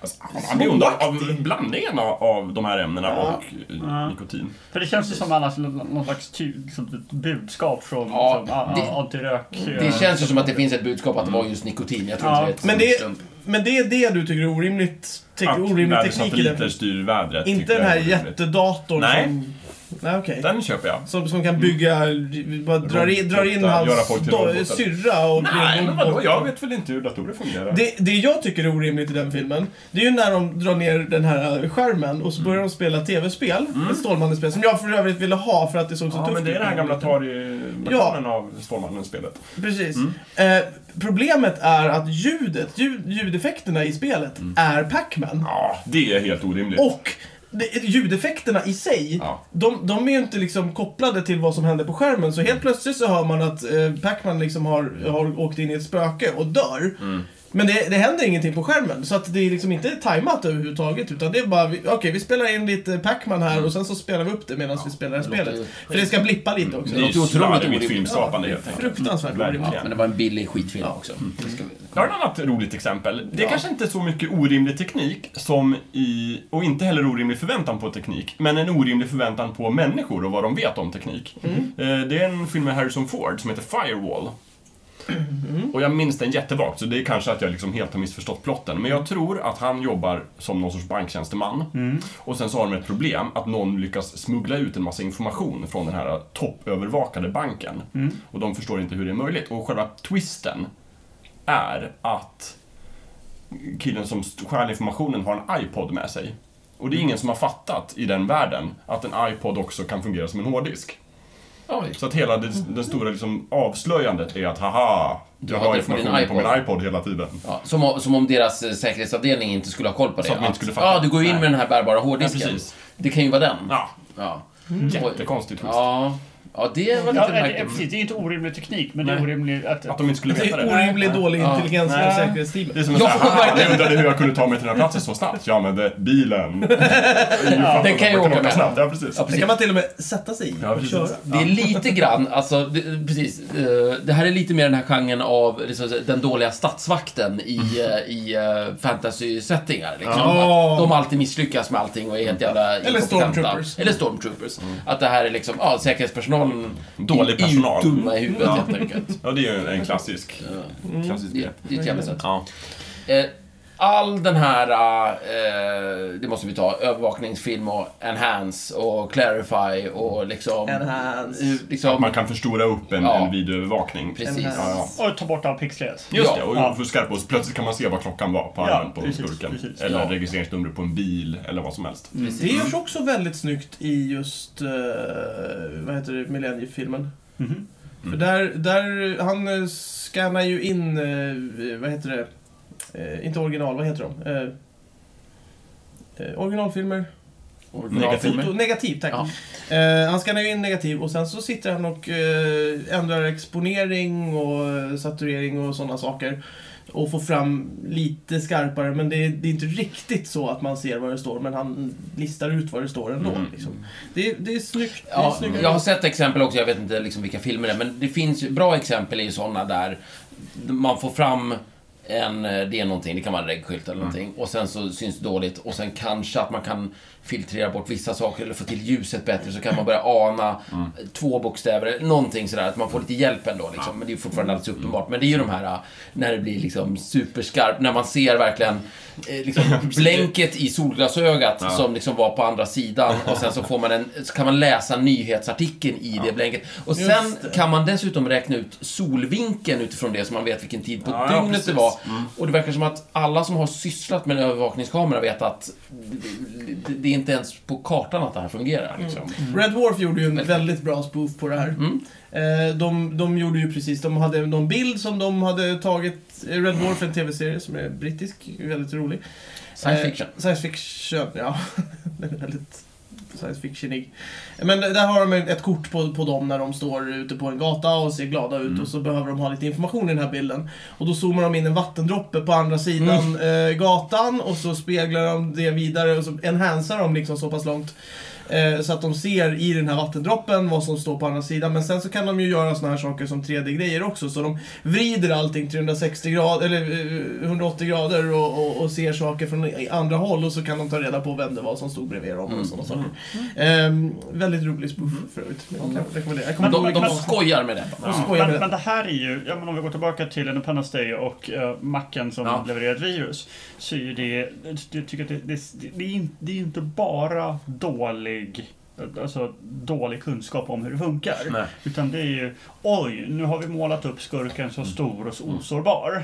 S3: Alltså, han blir ond av blandningen av, av de här ämnena och
S4: Ja.
S3: eh, nikotin.
S4: För det känns ju som annars någon någon slags ty, liksom ett budskap från
S2: Ja,
S4: liksom, a- a-
S2: det-
S4: antirök.
S2: Det känns ju som att det finns ett budskap att det var just nikotin. Jag tror
S4: Ja.
S2: inte det är ett
S1: Men det,
S2: slump.
S1: men det är det du tycker är orimligt. Tycker, orimlig
S3: Att
S1: teknik i
S3: satelliter
S1: den.
S3: styr vädret.
S1: Inte
S3: tycker
S1: den
S3: jag
S1: här
S3: är orimligt.
S1: jättedatorn
S3: Nej.
S1: som... Nej, okej.
S3: Den köper jag.
S1: Som, som kan bygga... Bara drar in, drar in
S3: Robotar, göra
S1: hans
S3: folk till
S1: do-
S3: robotar.
S1: syrra och... blir
S3: Nej,
S1: en
S3: men
S1: robot.
S3: vadå? Jag vet väl inte hur datorer fungerar.
S1: Det, det jag tycker är orimligt i den filmen, det är ju när de drar ner den här skärmen och så börjar de spela tv-spel. Ett Stålmannen-spel, som jag för övrigt ville ha för att det såg så
S3: Mm. Ja,
S1: tufft
S3: men det är den här gamla Atari-versionen av Stålmannen-spelet.
S1: Precis. Eh, problemet är att ljudet, ljud, ljudeffekterna i spelet är Pac-Man.
S3: Ja, det är helt orimligt.
S1: Och det, ljudeffekterna i sig,
S3: Ja.
S1: de, de är ju inte liksom kopplade till vad som händer på skärmen. Så helt plötsligt så hör man att eh, Pac-Man liksom har, har åkt in i ett spöke och dör. Men det, det händer ingenting på skärmen, så att det är liksom inte tajmat överhuvudtaget. Utan det är bara, vi- okej vi spelar in lite Pac-Man här och sen så spelar vi upp det medan vi spelar det här
S2: det låter
S1: spelet.
S2: ju-
S1: För det ska blippa lite också.
S3: Det är
S2: låter
S3: ju
S2: otroligt
S3: slarvigt
S2: orimligt.
S3: filmskapande helt enkelt.
S1: Fruktansvärt
S3: Mm. Verkligen.
S1: orimligt.
S2: Ja, men det var en billig skitfilm också. Mm, Det ska vi-
S3: Jag har ett annat roligt exempel. Det är kanske inte så mycket orimlig teknik som i, och inte heller orimlig förväntan på teknik, men en orimlig förväntan på människor och vad de vet om teknik. Eh, Det är en film med Harrison Ford som heter Firewall. Och jag minns den jättevagt, så det är kanske att jag liksom helt har missförstått plotten. Men jag tror att han jobbar som någon sorts banktjänsteman. Och sen så har de ett problem att någon lyckas smuggla ut en massa information från den här toppövervakade banken. Och de förstår inte hur det är möjligt. Och själva twisten är att killen som stjäl informationen har en iPod med sig. Och det är ingen som har fattat i den världen att en iPod också kan fungera som en hårddisk.
S2: Oj.
S3: Så att hela det, det stora liksom avslöjandet är att haha,
S2: Du
S3: jag
S2: har
S3: har
S2: det på din
S3: information på
S2: iPod.
S3: min iPod hela tiden.
S2: Ja, som, o- som om deras eh, säkerhetsavdelning inte skulle ha koll på det.
S3: Så att man inte skulle fatta.
S2: Ja, du går in
S3: Nej.
S2: med den här bärbara hårddisken.
S3: Ja, precis.
S2: Det kan ju vara den.
S3: Ja, Mm.
S2: Ja.
S3: jättekonstig twist.
S2: Ja. ja, det var
S4: Ja,
S2: lite
S4: det, är,
S2: märkligt.
S4: precis, det är inte orimlig teknik, men
S2: Nej.
S4: det är orimligt att...
S3: Att de inte skulle
S1: Det
S3: veta
S1: är
S3: det.
S1: orimligt dålig
S2: Ja.
S1: intelligens från
S4: Nej.
S1: säkerhetsteamet.
S3: Det är som att
S2: Jag
S3: säga,
S2: får
S3: haha,
S2: verkligen-
S3: jag undrade hur jag kunde ta mig till den här platsen så snabbt. Jag använde bilen.
S2: Den kan ju åka med.
S3: snabbt. Ja, precis.
S2: Ja,
S1: Det kan man till och med sätta sig i
S3: Ja,
S1: och
S3: precis.
S1: köra.
S2: Det är lite grann, alltså, det, precis. eh, Det här är lite mer den här genren av liksom, den dåliga statsvakten i,
S3: Mm.
S2: eh, i eh, fantasy-settingar. Liksom.
S1: Ja.
S2: Att de alltid misslyckas med allting och är helt jävla
S1: Eller
S2: inkompetenta.
S1: stormtroopers.
S2: Eller stormtroopers. Att det här är liksom, ja, säkerhetspersonalen
S3: Mm. Dålig
S2: är ju
S3: personal.
S2: dumma i huvudet helt enkelt.
S3: Ja, det är ju en klassisk, klassisk
S2: Det,
S3: grepp.
S2: det är ett jävla sätt.
S3: Ja.
S2: Eh, All den här, eh, det måste vi ta, övervakningsfilm och enhance och clarify och liksom...
S1: Enhance.
S2: eh,
S3: Att
S2: Liksom,
S3: man kan förstora upp en,
S2: Ja.
S3: en videoövervakning.
S2: precis.
S1: Enhance.
S4: Och ta bort all pixlighet.
S3: Just
S2: Ja.
S3: det, och
S4: Ja.
S3: för skarpa och så plötsligt kan man se vad klockan var på
S4: Ja,
S3: armen på
S4: precis,
S3: skurken.
S4: precis. Mm.
S3: Eller
S2: Ja.
S3: registreringsnumret på en bil eller vad som helst.
S1: Det görs också väldigt snyggt i just, eh, vad heter det, Millenniefilmen.
S4: Mhm.
S1: För där, där, han eh, scannar ju in, eh, vad heter det, eh, inte original, vad heter de? Eh, eh, originalfilmer.
S3: Negativ.
S1: Foto- Negativ, tack.
S2: Ja.
S1: Eh, han skannar ju in negativ och sen så sitter han och eh, ändrar exponering och eh, saturering och sådana saker. Och får fram lite skarpare, men det är, det är inte riktigt så att man ser vad det står, men han listar ut vad det står ändå.
S3: Mm.
S1: Liksom. Det, är- det är snyggt. Det är
S2: Ja,
S1: snyggt.
S2: jag har sett exempel också, jag vet inte liksom vilka filmer det är, men det finns ju, bra exempel är ju sådana där man får fram en, eh, det är någonting, det kan vara en reggskylt eller någonting, och sen så syns det dåligt och sen kanske att man kan filtrera bort vissa saker eller få till ljuset bättre så kan man börja ana två bokstäver eller någonting sådär, att man får lite hjälp ändå liksom. Men det är fortfarande alldeles uppenbart. Men det är ju de här eh, när det blir liksom superskarpt, när man ser verkligen eh, liksom, blänket i solglasögat som liksom var på andra sidan och sen så, får man en, så kan man läsa nyhetsartikeln i det blänket. Och
S1: Just
S2: sen
S1: det.
S2: kan man dessutom räkna ut solvinkeln utifrån det så man vet vilken tid på
S3: Ja, ja,
S2: dygnet det
S3: precis.
S2: var. Och det verkar som att alla som har sysslat med en övervakningskamera vet att det, det är inte ens på kartan att det här fungerar. Liksom.
S1: Mm.
S2: Mm.
S1: Red Dwarf gjorde ju en väldigt bra spoof på det här. Eh, de, de gjorde ju precis, de hade någon bild som de hade tagit, eh, Red Dwarf är en tv-serie som är brittisk, väldigt rolig.
S2: Science
S1: Eh,
S2: fiction.
S1: Science fiction, ja. Den är väldigt science fictionig. Men där har de ett kort på, på dem när de står ute på en gata och ser glada ut
S2: Mm.
S1: och så behöver de ha lite information i den här bilden. Och då zoomar de in en vattendroppe på andra sidan
S2: Mm.
S1: eh, gatan och så speglar de det vidare och så enhancerar de liksom så pass långt. Eh, så att de ser i den här vattendroppen vad som står på andra sidan. Men sen så kan de ju göra såna här saker som 3D-grejer också. Så de vrider allting 360 grader, eller eh, 180 grader och, och, och ser saker från i- andra håll. Och så kan de ta reda på vem det var som stod bredvid dem
S2: Mm.
S1: och sådana saker. Ehm, väldigt rolig spoof för övrigt. Jag kan rekommendera. Jag kommer
S4: Men
S1: inte
S2: De,
S1: ihåg
S2: de
S1: vad-
S2: skojar med detta.
S1: de skojar med
S4: Men,
S1: det.
S4: men det här är ju, ja, men om vi går tillbaka till Independence Day och uh, macken som
S2: Ja.
S4: levererar ett virus. Så är ju det, jag tycker att det, det, det, är in- det är ju inte bara dålig Alltså dålig kunskap om hur det funkar.
S2: Nej.
S4: Utan det är ju, oj, nu har vi målat upp skurken så stor och så
S2: Mm.
S4: osårbar.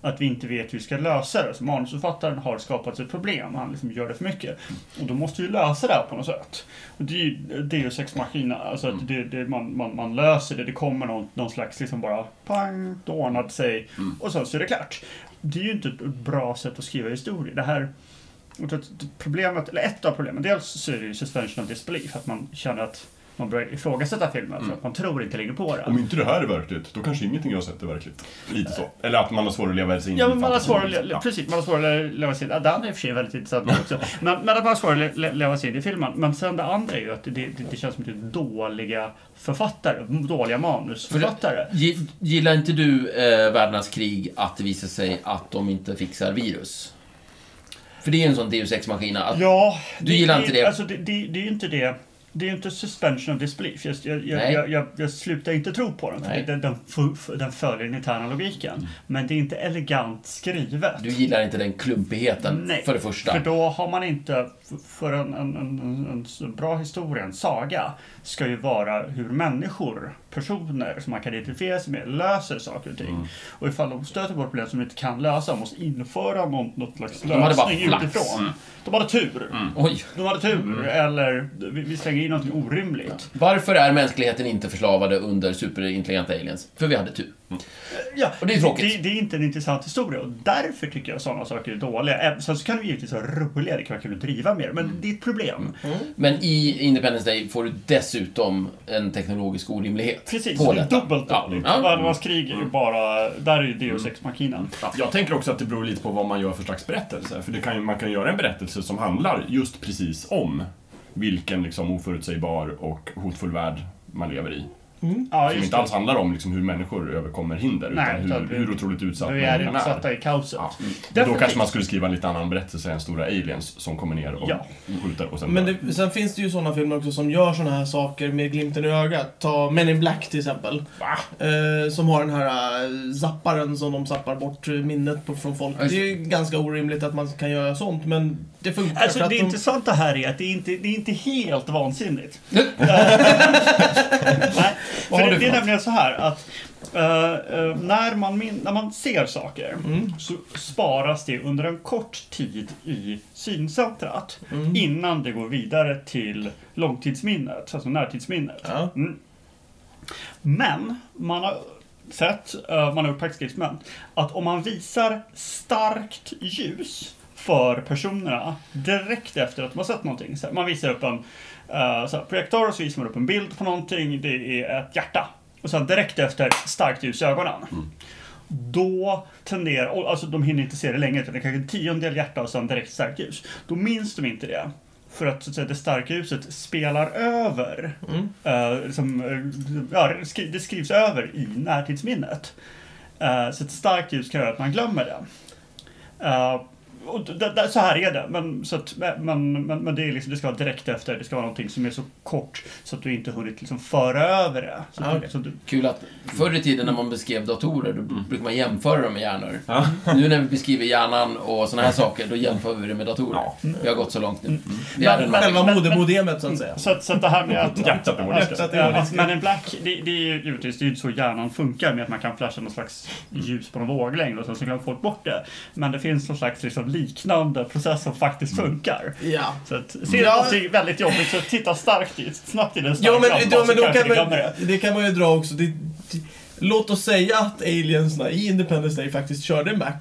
S4: Att vi inte vet hur vi ska lösa det. Så manusförfattaren har skapat ett problem, han liksom gör det för mycket. Och då måste vi lösa det här på något sätt. Och det är ju Deus Ex Machina, alltså att det, det, man, man, man löser det, det kommer någon, någon slags liksom bara pang, då ordnar det sig och sen så är det klart. Det är ju inte ett bra sätt att skriva historier. Det här och det- det- Problemet, eller ett av problemen, dels så är det ju suspension of disbelief, att man känner att man börjar ifrågasätta filmen för att man tror inte längre på
S3: Om
S4: den.
S3: inte det här är verkligt, då kanske ingenting jag sett är verkligt. Lite så. Eller att man har svårt att leva sig in
S4: Ja,
S3: i
S4: men man har
S3: fantasin.
S4: svårare att le-
S3: Ja.
S4: le- precis, man har svårare att leva sig in. Ja, den är i och för sig väldigt intressant också. Men, men att man har svårare att le- le- leva sig in i filmen. Men sen det andra är ju att det, det, det känns som att det är dåliga författare, dåliga manusförfattare.
S2: Gi- Gillar inte du eh, världens krig att det visar sig att de inte fixar virus? För det är ju en sån Deus ex maskina att
S4: Ja,
S2: Du gillar inte det?
S4: Alltså, det, det, det är ju inte det. Det är ju inte suspension of disbelief. Jag, jag, jag,
S2: Nej.
S4: jag, jag, jag slutar inte tro på den. För
S2: Nej. Mm.
S4: den, den, fu- f- den följer den interna logiken. Men det är inte elegant skrivet.
S2: du gillar inte den klumpigheten,
S4: Nej,
S2: för det första.
S4: För då har man inte, f- för en, en, en, en, en bra historia, en saga, ska ju vara hur människor, personer som man kan identifiera sig med, löser saker och ting.
S2: Mm.
S4: Och ifall de stöter på ett problem som de inte kan lösa, måste införa något, något slags
S2: De hade bara Mm.
S4: lösning
S2: flax.
S4: utifrån. De hade tur.
S2: Oj.
S4: De hade tur,
S2: Mm.
S4: eller vi, vi slänger in någonting orimligt.
S2: Varför är mänskligheten inte förslavade under superintelligenta aliens? För vi hade tur.
S4: Ja,
S2: Och det är tråkigt.
S4: Det, det är inte en intressant historia och därför tycker jag sådana saker är dåliga. Även- Sen så kan de givetvis vara roliga, det kan vara kul att driva mer,
S2: Mm.
S4: men det är ett problem.
S2: Men i Independence Day får du dessutom en teknologisk orimlighet.
S4: Precis,
S2: på
S4: så det är
S2: detta.
S4: dubbelt
S2: Ja.
S4: dåligt.
S2: Ja. Mm.
S4: Världarnas krig är ju bara, där är ju Deus Ex Machina.
S3: Jag tänker också att det beror lite på vad man gör för slags berättelse. För det kan ju, man kan göra en berättelse som handlar just precis om vilken liksom oförutsägbar och hotfull värld man lever i.
S4: Ja,
S3: Som
S4: just
S3: inte
S4: det.
S3: alls handlar om liksom hur människor överkommer hinder,
S4: Nej,
S3: utan
S4: utan
S3: hur,
S4: vi-
S3: hur otroligt utsatt
S4: Vi är
S3: människan är.
S4: utsatta i kaoset. Mm.
S3: Ja. Då
S4: Definitivt.
S3: kanske man skulle skriva en lite annan berättelse än stora aliens som kommer ner och
S4: Ja.
S3: skjuter och sen
S1: Men
S3: dör.
S1: det, sen finns det ju sådana filmer också som gör sådana här saker med glimten i ögat. Ta Men in Black till exempel.
S3: Va?
S1: Eh, som har den här eh, zapparen som de zappar bort eh, minnet på, från folk. Det
S4: Alltså-
S2: Just
S1: är ju ganska orimligt att man kan göra sånt, men det funkar. för
S4: Alltså
S1: att
S4: det
S1: de-
S4: intressanta här är att det är inte, det är inte helt vansinnigt.
S2: Nu.
S4: Nej,
S2: Vad
S4: för
S2: har
S4: det,
S2: du
S4: det
S2: för
S4: är nämligen så här att eh, eh, när, man min- när man ser saker
S2: Mm.
S4: så sparas det under en kort tid i syncentrat
S2: Mm.
S4: innan det går vidare till långtidsminnet, alltså närtidsminnet.
S1: Ja.
S4: Mm. Men man har sett, eh, man har gjort praktiska att om man visar starkt ljus för personerna direkt efter att de har sett någonting. Så här, man visar upp en eh, så här, projektor och så visar man upp en bild på någonting. Det är ett hjärta. Och sen direkt efter starkt ljus i ögonen. Då tenderar, och alltså de hinner inte se det länge, utan det är kanske en tiondel hjärta och sen direkt starkt ljus. Då minns de inte det. För att, så att säga, det starka ljuset spelar över. eh, liksom, eh, ja, det skri- det skrivs över i närtidsminnet. Eh, så ett starkt ljus kan göra att man glömmer det. Eh, och d- d- så här är det, men, så att, men, men, men det, är liksom, det ska vara direkt efter. Det ska vara någonting som är så kort så att du inte hunnit liksom föra över det. Så,
S1: Ah,
S4: att
S1: okej.
S4: du, så att du,
S2: Kul att förr i tiden när man beskrev datorer, då brukade man jämföra dem med hjärnor.
S3: Ja.
S2: Nu när vi beskriver hjärnan och såna här saker, då jämför vi det med datorer. Vi har gått så långt nu. Vi är en
S1: Själva
S4: Mm. Men- Mm.
S1: modemodemet så att säga.
S4: Så, att- så att det här med att...
S3: Hjärtat är vår
S4: att-
S1: hjärtat är vår
S4: att- att
S1: disk.
S4: Men in Black, det, det är ju givetvis det är ju inte så hjärnan funkar med att man kan flasha någon slags ljus på någon våglängd och sen så glömmer folk bort det. Men det finns någon slags liksom liknande process som faktiskt funkar.
S1: Ja.
S4: Så att, ser du någonting väldigt jobbigt så titta starkt dit, snabbt i den
S1: Ja, men,
S4: lampan
S1: ja,
S4: så
S1: men då
S4: kanske
S1: kan
S4: du glömmer
S1: man,
S4: det.
S1: det kan man ju dra också. Det, det, låt oss säga att aliensna i Independence Day faktiskt körde Mac.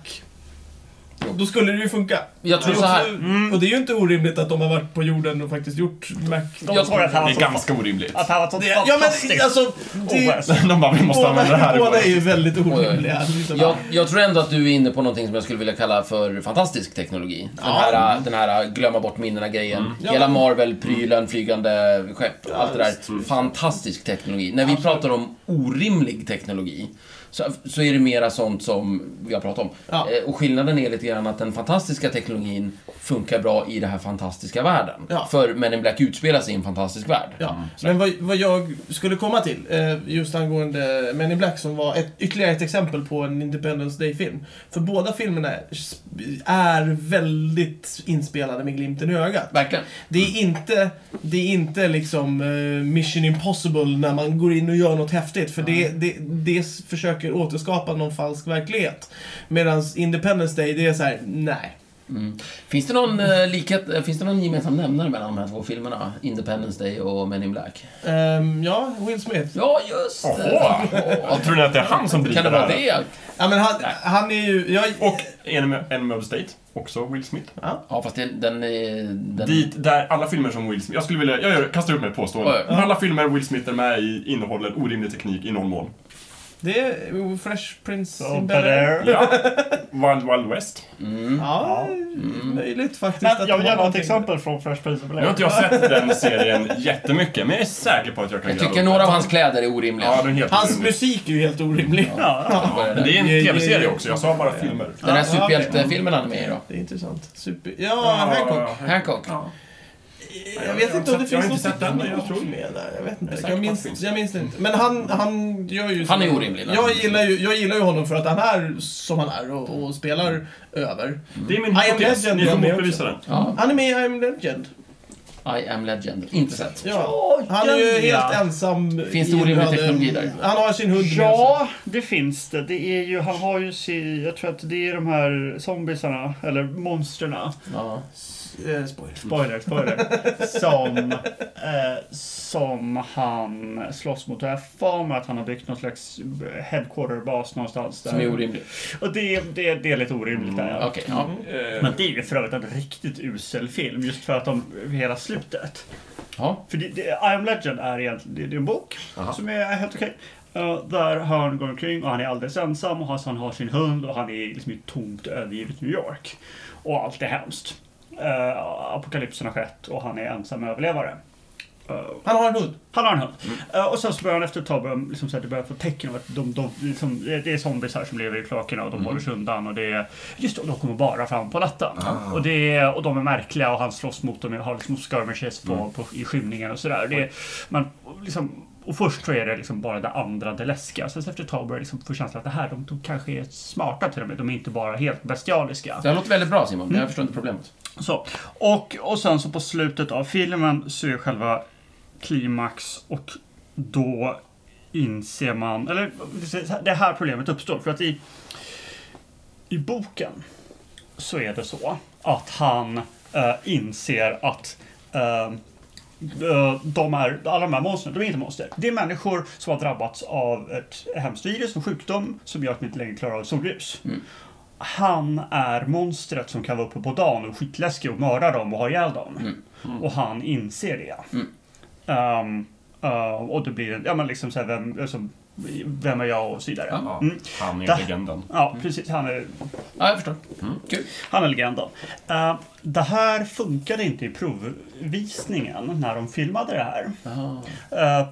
S1: Då skulle det ju funka.
S2: Jag tror
S1: Det är
S2: så här-
S1: också-
S3: Mm.
S1: Och det är ju inte orimligt att de har varit på jorden och faktiskt gjort Mac.
S4: De tror att han
S3: Det
S4: har
S3: är
S4: så
S3: ganska orimligt.
S4: Att han har sånt
S1: Det- Ja men
S4: fantastiskt
S1: alltså... Det,
S4: OS.
S3: De bara, vi Oh, måste använda det
S1: båda,
S3: här. i
S1: båda
S3: våra-
S1: är ju väldigt orimliga. Liksom.
S2: Jag, jag tror ändå att du är inne på någonting som jag skulle vilja kalla för fantastisk teknologi. Den, här, äh, den här glömma bort minnena-grejen.
S1: Mm.
S2: Hela Marvel-prylen, flygande skepp, allt det där. Fantastisk teknologi. När vi pratar om orimlig teknologi så, så är det mera sånt som vi har pratat om.
S1: Ja.
S2: Eh, Och skillnaden är lite grann att den fantastiska teknologin funkar bra i den här fantastiska världen.
S1: Ja.
S2: För Men in Black utspelar sig i en fantastisk värld.
S1: Ja, men vad, vad jag skulle komma till, eh, just angående Men in Black som var ett, ytterligare ett exempel på en Independence Day-film. För båda filmerna sp- är väldigt inspelade med glimten i ögat.
S2: Verkligen.
S1: Det är inte, det är inte liksom eh, Mission Impossible när man går in och gör något häftigt. För det, det, det s- försöker återskapa någon falsk verklighet. Medan Independence Day, det är så här: nej.
S2: Finns det någon eh, likhet, eh, finns det någon gemensam nämnare mellan de här två filmerna? Independence Day och Men in Black?
S1: Ehm, ja, Will Smith.
S2: Ja, just
S3: Jaha!
S2: det.
S3: Och Tror ni att det är han som driver
S2: Kan det vara
S3: här?
S2: det?
S1: Ja, men han, han är ju... Jag,
S3: Och Enemy Enemy of the State, också Will Smith.
S2: Ja, fast det, den är... Den...
S3: Dit, där alla filmer som Will Smith... Jag skulle vilja... Jag gör, kastar upp mig ett påstående.
S2: Oj.
S3: Men Alla filmer Will Smith är med i innehåller orimlig teknik i någon mån.
S1: Det är Fresh Prince
S4: Så,
S1: in Bel-Air. Mm.
S4: där.
S3: Ja. Wild Wild West.
S1: Ja, mm. möjligt faktiskt.
S4: Men
S1: att
S4: jag
S1: det var
S4: vill gärna ha ett
S1: någonting.
S4: exempel från Fresh Prince of
S3: Nu har inte jag sett den serien jättemycket, men jag är säker på att jag kan
S2: Jag
S3: gräva
S2: tycker
S3: upp
S2: några
S3: det.
S2: av hans kläder är orimliga.
S3: Ja, den är helt
S1: Hans
S3: orimlig.
S1: musik är ju helt orimlig.
S4: Ja,
S2: Vad är det
S3: Men
S2: där?
S3: det är en
S1: Ja, ja,
S3: tv-serie
S1: ja.
S3: också, jag sa bara filmer.
S2: Den här
S1: Ja, ja, okej.
S2: superhjältefilmen han är med i då.
S1: Det är intressant. Super... Ja, Hancock.
S2: Hancock.
S1: Jag vet inte om det
S3: Jag har
S1: finns
S3: inte
S1: något
S3: sett den, men jag tror-
S1: med där. Jag vet
S3: Jag är
S1: inte. Jag
S3: säker på att
S1: minns,
S3: det finns.
S1: jag minns det inte. Men han, han gör ju...
S2: Han är orimlig, va?
S1: Jag gillar ju, jag gillar ju honom för att han är som han är och, och spelar över.
S3: Det är min
S1: I am
S3: hypotes,
S1: Legend,
S3: ni får
S1: jag med
S3: motbevisa den.
S2: Ja,
S1: Han är med i I'm Legend.
S2: I am legend. Inte sett.
S1: Ja. Han är ju helt
S4: ja.
S1: ensam.
S2: Finns det
S1: i
S2: orimlig
S1: bröder.
S2: teknologi där?
S1: Han har sin hund med sig.
S4: Ja, det finns det. Det är ju, han har ju sin, jag tror att det är de här zombisarna, eller monsterna.
S2: Ja.
S1: Eh, spoiler.
S4: Spoiler, spoiler. Som, eh, som han slåss mot. Och Jag har för mig att han har byggt någon slags headquarterbas någonstans där.
S2: Som är orimlig.
S4: Och det, det, det är lite orimligt där.
S2: Okej, ja.
S3: Mm.
S4: Men det är ju för övrigt en riktigt usel film just för att de, hela slutet.
S2: ja.
S4: För det, det, I am Legend är egentligen det, det är en bok som är helt okej. Eh, där han går omkring och han är alldeles ensam och han, han har sin hund och han är liksom i ett tomt övergivet New York. Och allt är hemskt. Eh, apokalypsen har skett och han är ensam överlevare.
S1: Han har en hund.
S4: Han har en hund. Eh, och sen så börjar han efter ett tag börja, liksom, så här, det börjar få tecken på att de, de, liksom, det det är zombies här som lever i kloakerna och de håller sig undan. Och det är, just det, och de kommer bara fram på natten. Och, det är, och de är märkliga och han slåss mot dem och har liksom skirmishes på, på, i skymningen och sådär. Det är- man, Liksom, och först så är det liksom bara det andra, det läskiga. Sen så efter ett tag börjar jag liksom få känslan att det här, de, de kanske är smarta till och med. De är inte bara helt bestialiska.
S2: Det här låter väldigt bra Simon, men jag förstår inte problemet.
S4: Så. Och, och sen så på slutet av filmen så är själva klimax och då inser man, eller det här problemet uppstår för att i, i boken så är det så att han eh, inser att eh, eh, de är, alla de här monstren, de är inte monster. Det är människor som har drabbats av ett hemskt virus, en sjukdom som gör att de inte längre klarar av solljus. Han är monstret som kan vara uppe på dagen och skitläskig och mörda dem och ha ihjäl dem. Och han inser det. Ehm, eh, och det blir en, ja men liksom såhär, vem, liksom, vem är jag och så vidare.
S2: Ja.
S4: Mm.
S3: Han är
S4: Där-
S3: legenden.
S4: Ja, precis. Han är
S2: Ja, jag förstår.
S3: Mm.
S2: Kul.
S4: han är legenden. Eh, det här funkade inte i provvisningen när de filmade det här. Eh, eh,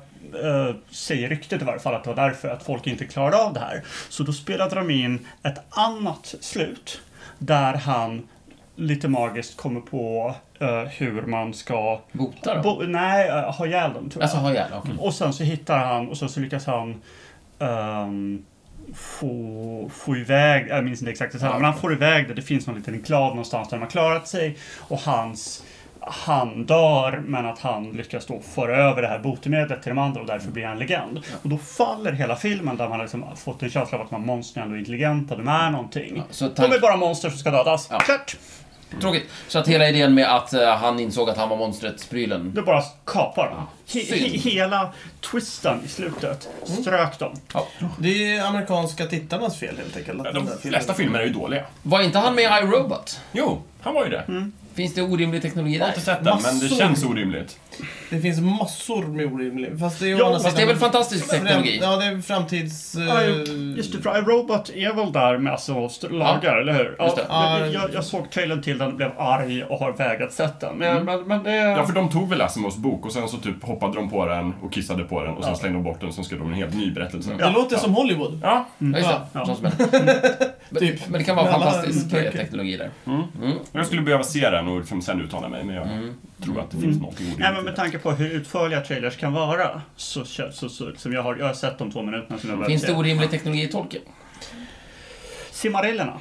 S4: säger ryktet i varje fall att det var därför att folk inte klarade av det här. Så då spelade de in ett annat slut där han lite magiskt kommer på eh, hur man ska...
S2: Bota då?
S4: Bo- nej, eh, ha ihjäl dem tror jag.
S2: Alltså, ha ihjäl? Okej.
S4: Och sen så hittar han och sen så lyckas han ehm, få, få iväg, jag minns inte exakt det här, men han får iväg det. Det finns någon liten enklav någonstans där de har klarat sig och hans han dör men att han lyckas då föra över det här botemedlet till de andra och
S2: Mm.
S4: därför blir han legend. Och då faller hela filmen där man liksom har fått en känsla av att de här monstren är ändå intelligenta, de är någonting.
S2: Mm. så
S4: De
S2: tank-
S4: är bara monster som ska dödas.
S2: Ja.
S4: Klart!
S2: Tråkigt. Så att hela idén med att eh, han insåg att han var monstret-prylen.
S4: Det bara kapar dem. He he
S2: Synd. Mm.
S4: hela twisten i slutet strök dem.
S2: Ja.
S1: Det är amerikanska tittarnas fel helt enkelt. Att den där
S3: De
S1: filmen-
S3: flesta filmer är ju dåliga.
S2: Var inte han med i iRobot?
S3: Jo, han var ju det.
S2: Finns det orimlig teknologi
S3: Jag har
S2: där?
S3: inte sett den, men det
S1: Massor.
S3: känns orimligt.
S1: Det finns massor med orimligt. Fast det är, ju
S4: Ja,
S1: å andra
S2: Fast det är väl
S1: sidan-
S2: fantastisk teknologi?
S1: Ja, det är framtids... eh,
S4: Ja, Just det, för iRobot är väl där med alltså st- lagar, eller hur? Ja,
S2: Just det.
S4: men
S1: Ja,
S4: jag, jag såg trailern till den, blev arg och har vägrat sett den. Men,
S2: Mm.
S4: men, men det...
S3: Ja, för de tog väl Asimovs bok och sen så typ hoppade de på den och kissade på den och sen slängde de bort den och sen skrev de en helt ny berättelse.
S1: Det låter som Hollywood.
S3: Ja,
S2: Ja, just det.
S4: Ja.
S2: Sånt som är. Men-
S1: Typ.
S2: Men det kan vara
S1: Mellan
S2: fantastisk eh,
S1: böcker.
S2: teknologi där.
S3: jag skulle behöva se den och liksom sen uttala mig, men jag tror att det finns något orimligt
S4: Nej, men
S3: i
S4: med
S3: det.
S4: tanke på hur utförliga trailers kan vara, så, kän- så, så som jag har, jag har sett de två minuterna som jag
S2: Finns
S4: behöver
S2: det
S4: se.
S2: orimlig teknologi i Tolkien?
S4: Simarillerna.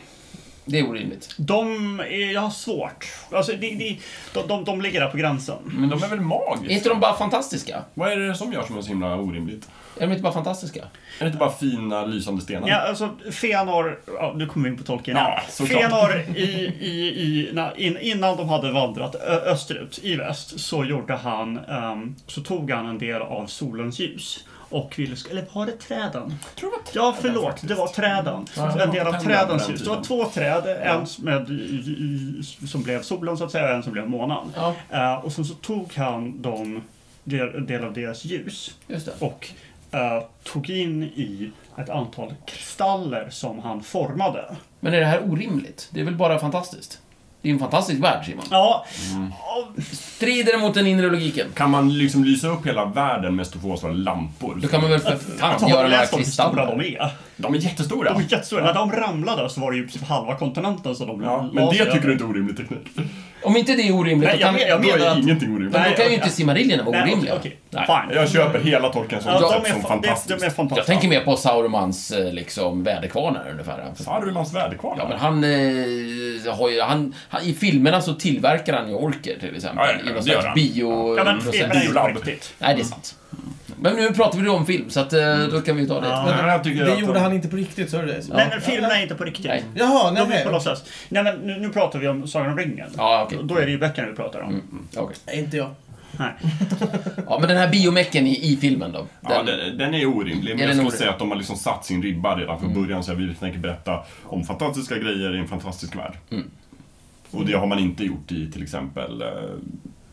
S2: Det är orimligt.
S4: De är, jag har svårt. Alltså, de, de, de, de, de ligger där på gränsen.
S3: Men de är väl
S2: Är inte
S3: magiska?
S2: de bara fantastiska?
S3: Vad är det som gör som är så himla orimligt?
S2: Är de inte bara fantastiska?
S3: Är det inte bara fina, lysande stenar?
S4: Ja, alltså Fëanor, ja, nu kommer vi in på Tolkien
S3: Ja,
S4: här.
S3: såklart.
S4: Fëanor, i, i, i, na, in, innan de hade vandrat ö, österut, i väst, så gjorde han, ehm, så tog han en del av solens ljus. Och ville, sk- eller var det träden?
S3: Jag tror det var
S4: Ja, förlåt. Det var träden. En del
S3: Tänderna
S4: av
S3: på
S4: trädens
S3: den
S4: ljus. Det var
S3: tiden.
S4: två träd. En som med, i- i- som blev solen, så att säga, och en som blev månan.
S2: Ja,
S4: Eh, och sen så tog han dem, del, del av deras ljus
S2: just det.
S4: och eh, tog in i ett antal kristaller som han formade.
S2: Men är det här orimligt? Det är väl bara fantastiskt? Det är en fantastisk värld, Simon.
S4: Ja,
S2: Strider det mot den inre logiken?
S3: Kan man liksom lysa upp hela världen med stora lampor?
S2: Då kan man väl för fan
S4: har
S2: göra några
S4: du läst alltså, om hur stora
S2: kristaller?
S4: de är?
S3: De är jättestora.
S4: De är jättestora. När de ramlade så var det ju typ halva kontinenten som de
S3: Ja, men
S4: la sig
S3: det tycker
S4: över.
S3: du inte är orimlig teknik?
S2: Om inte det är orimligt,
S4: Nej,
S2: då
S4: jag,
S2: kan,
S4: men, jag
S3: Då
S4: menar
S3: är
S4: att...
S3: ingenting orimligt.
S2: då
S4: Nej,
S2: kan ju
S4: okej.
S2: inte simariljerna vara
S4: Nej,
S2: orimliga.
S4: okej.
S2: Nej.
S4: Fine.
S3: Jag köper hela Tolkien som
S4: Ja,
S3: koncept
S4: de,
S3: som
S4: är, fa-
S3: fantastiskt.
S4: de, de är fantastiska.
S2: Jag tänker mer på Sauromans eh, liksom, väderkvarnar ungefär.
S3: Farulans väderkvarn.
S2: Ja, men han, eh, har ju, han, han, I filmerna så tillverkar han ju orker till
S3: Ja,
S2: exempel.
S3: ja, ja,
S2: I någon
S3: det gör
S2: slags
S3: han.
S2: bio...
S4: Ja, men
S2: process.
S4: filmen är ju på
S3: Biolabb.
S4: riktigt.
S2: Nej, det är sant. Men nu pratar vi ju om film, så att, eh, då kan vi ju ta det.
S4: Ja.
S3: Nej, jag tycker
S1: Det
S3: att
S1: gjorde
S3: de-
S1: han inte på riktigt, så är det
S4: Nej, men filmen är inte på riktigt.
S2: Nej.
S1: Jaha, nej,
S4: De är på
S1: nej.
S4: låtsas. Nej, men nu, nu pratar vi om Sagan om ringen.
S2: Ja, okej. Mm,
S4: Då är det ju böckerna vi pratar om.
S2: Okej.
S1: Nej, Inte jag.
S4: Nej.
S2: Ja, men den här biomecken i, i filmen då?
S3: Ja,
S2: Den,
S3: den, den är orimlig, men jag
S2: den
S3: skulle
S2: orimlig?
S3: säga att de har liksom satt sin ribba redan från början så jag vill tänker berätta om fantastiska grejer i en fantastisk värld. Och det har man inte gjort i till exempel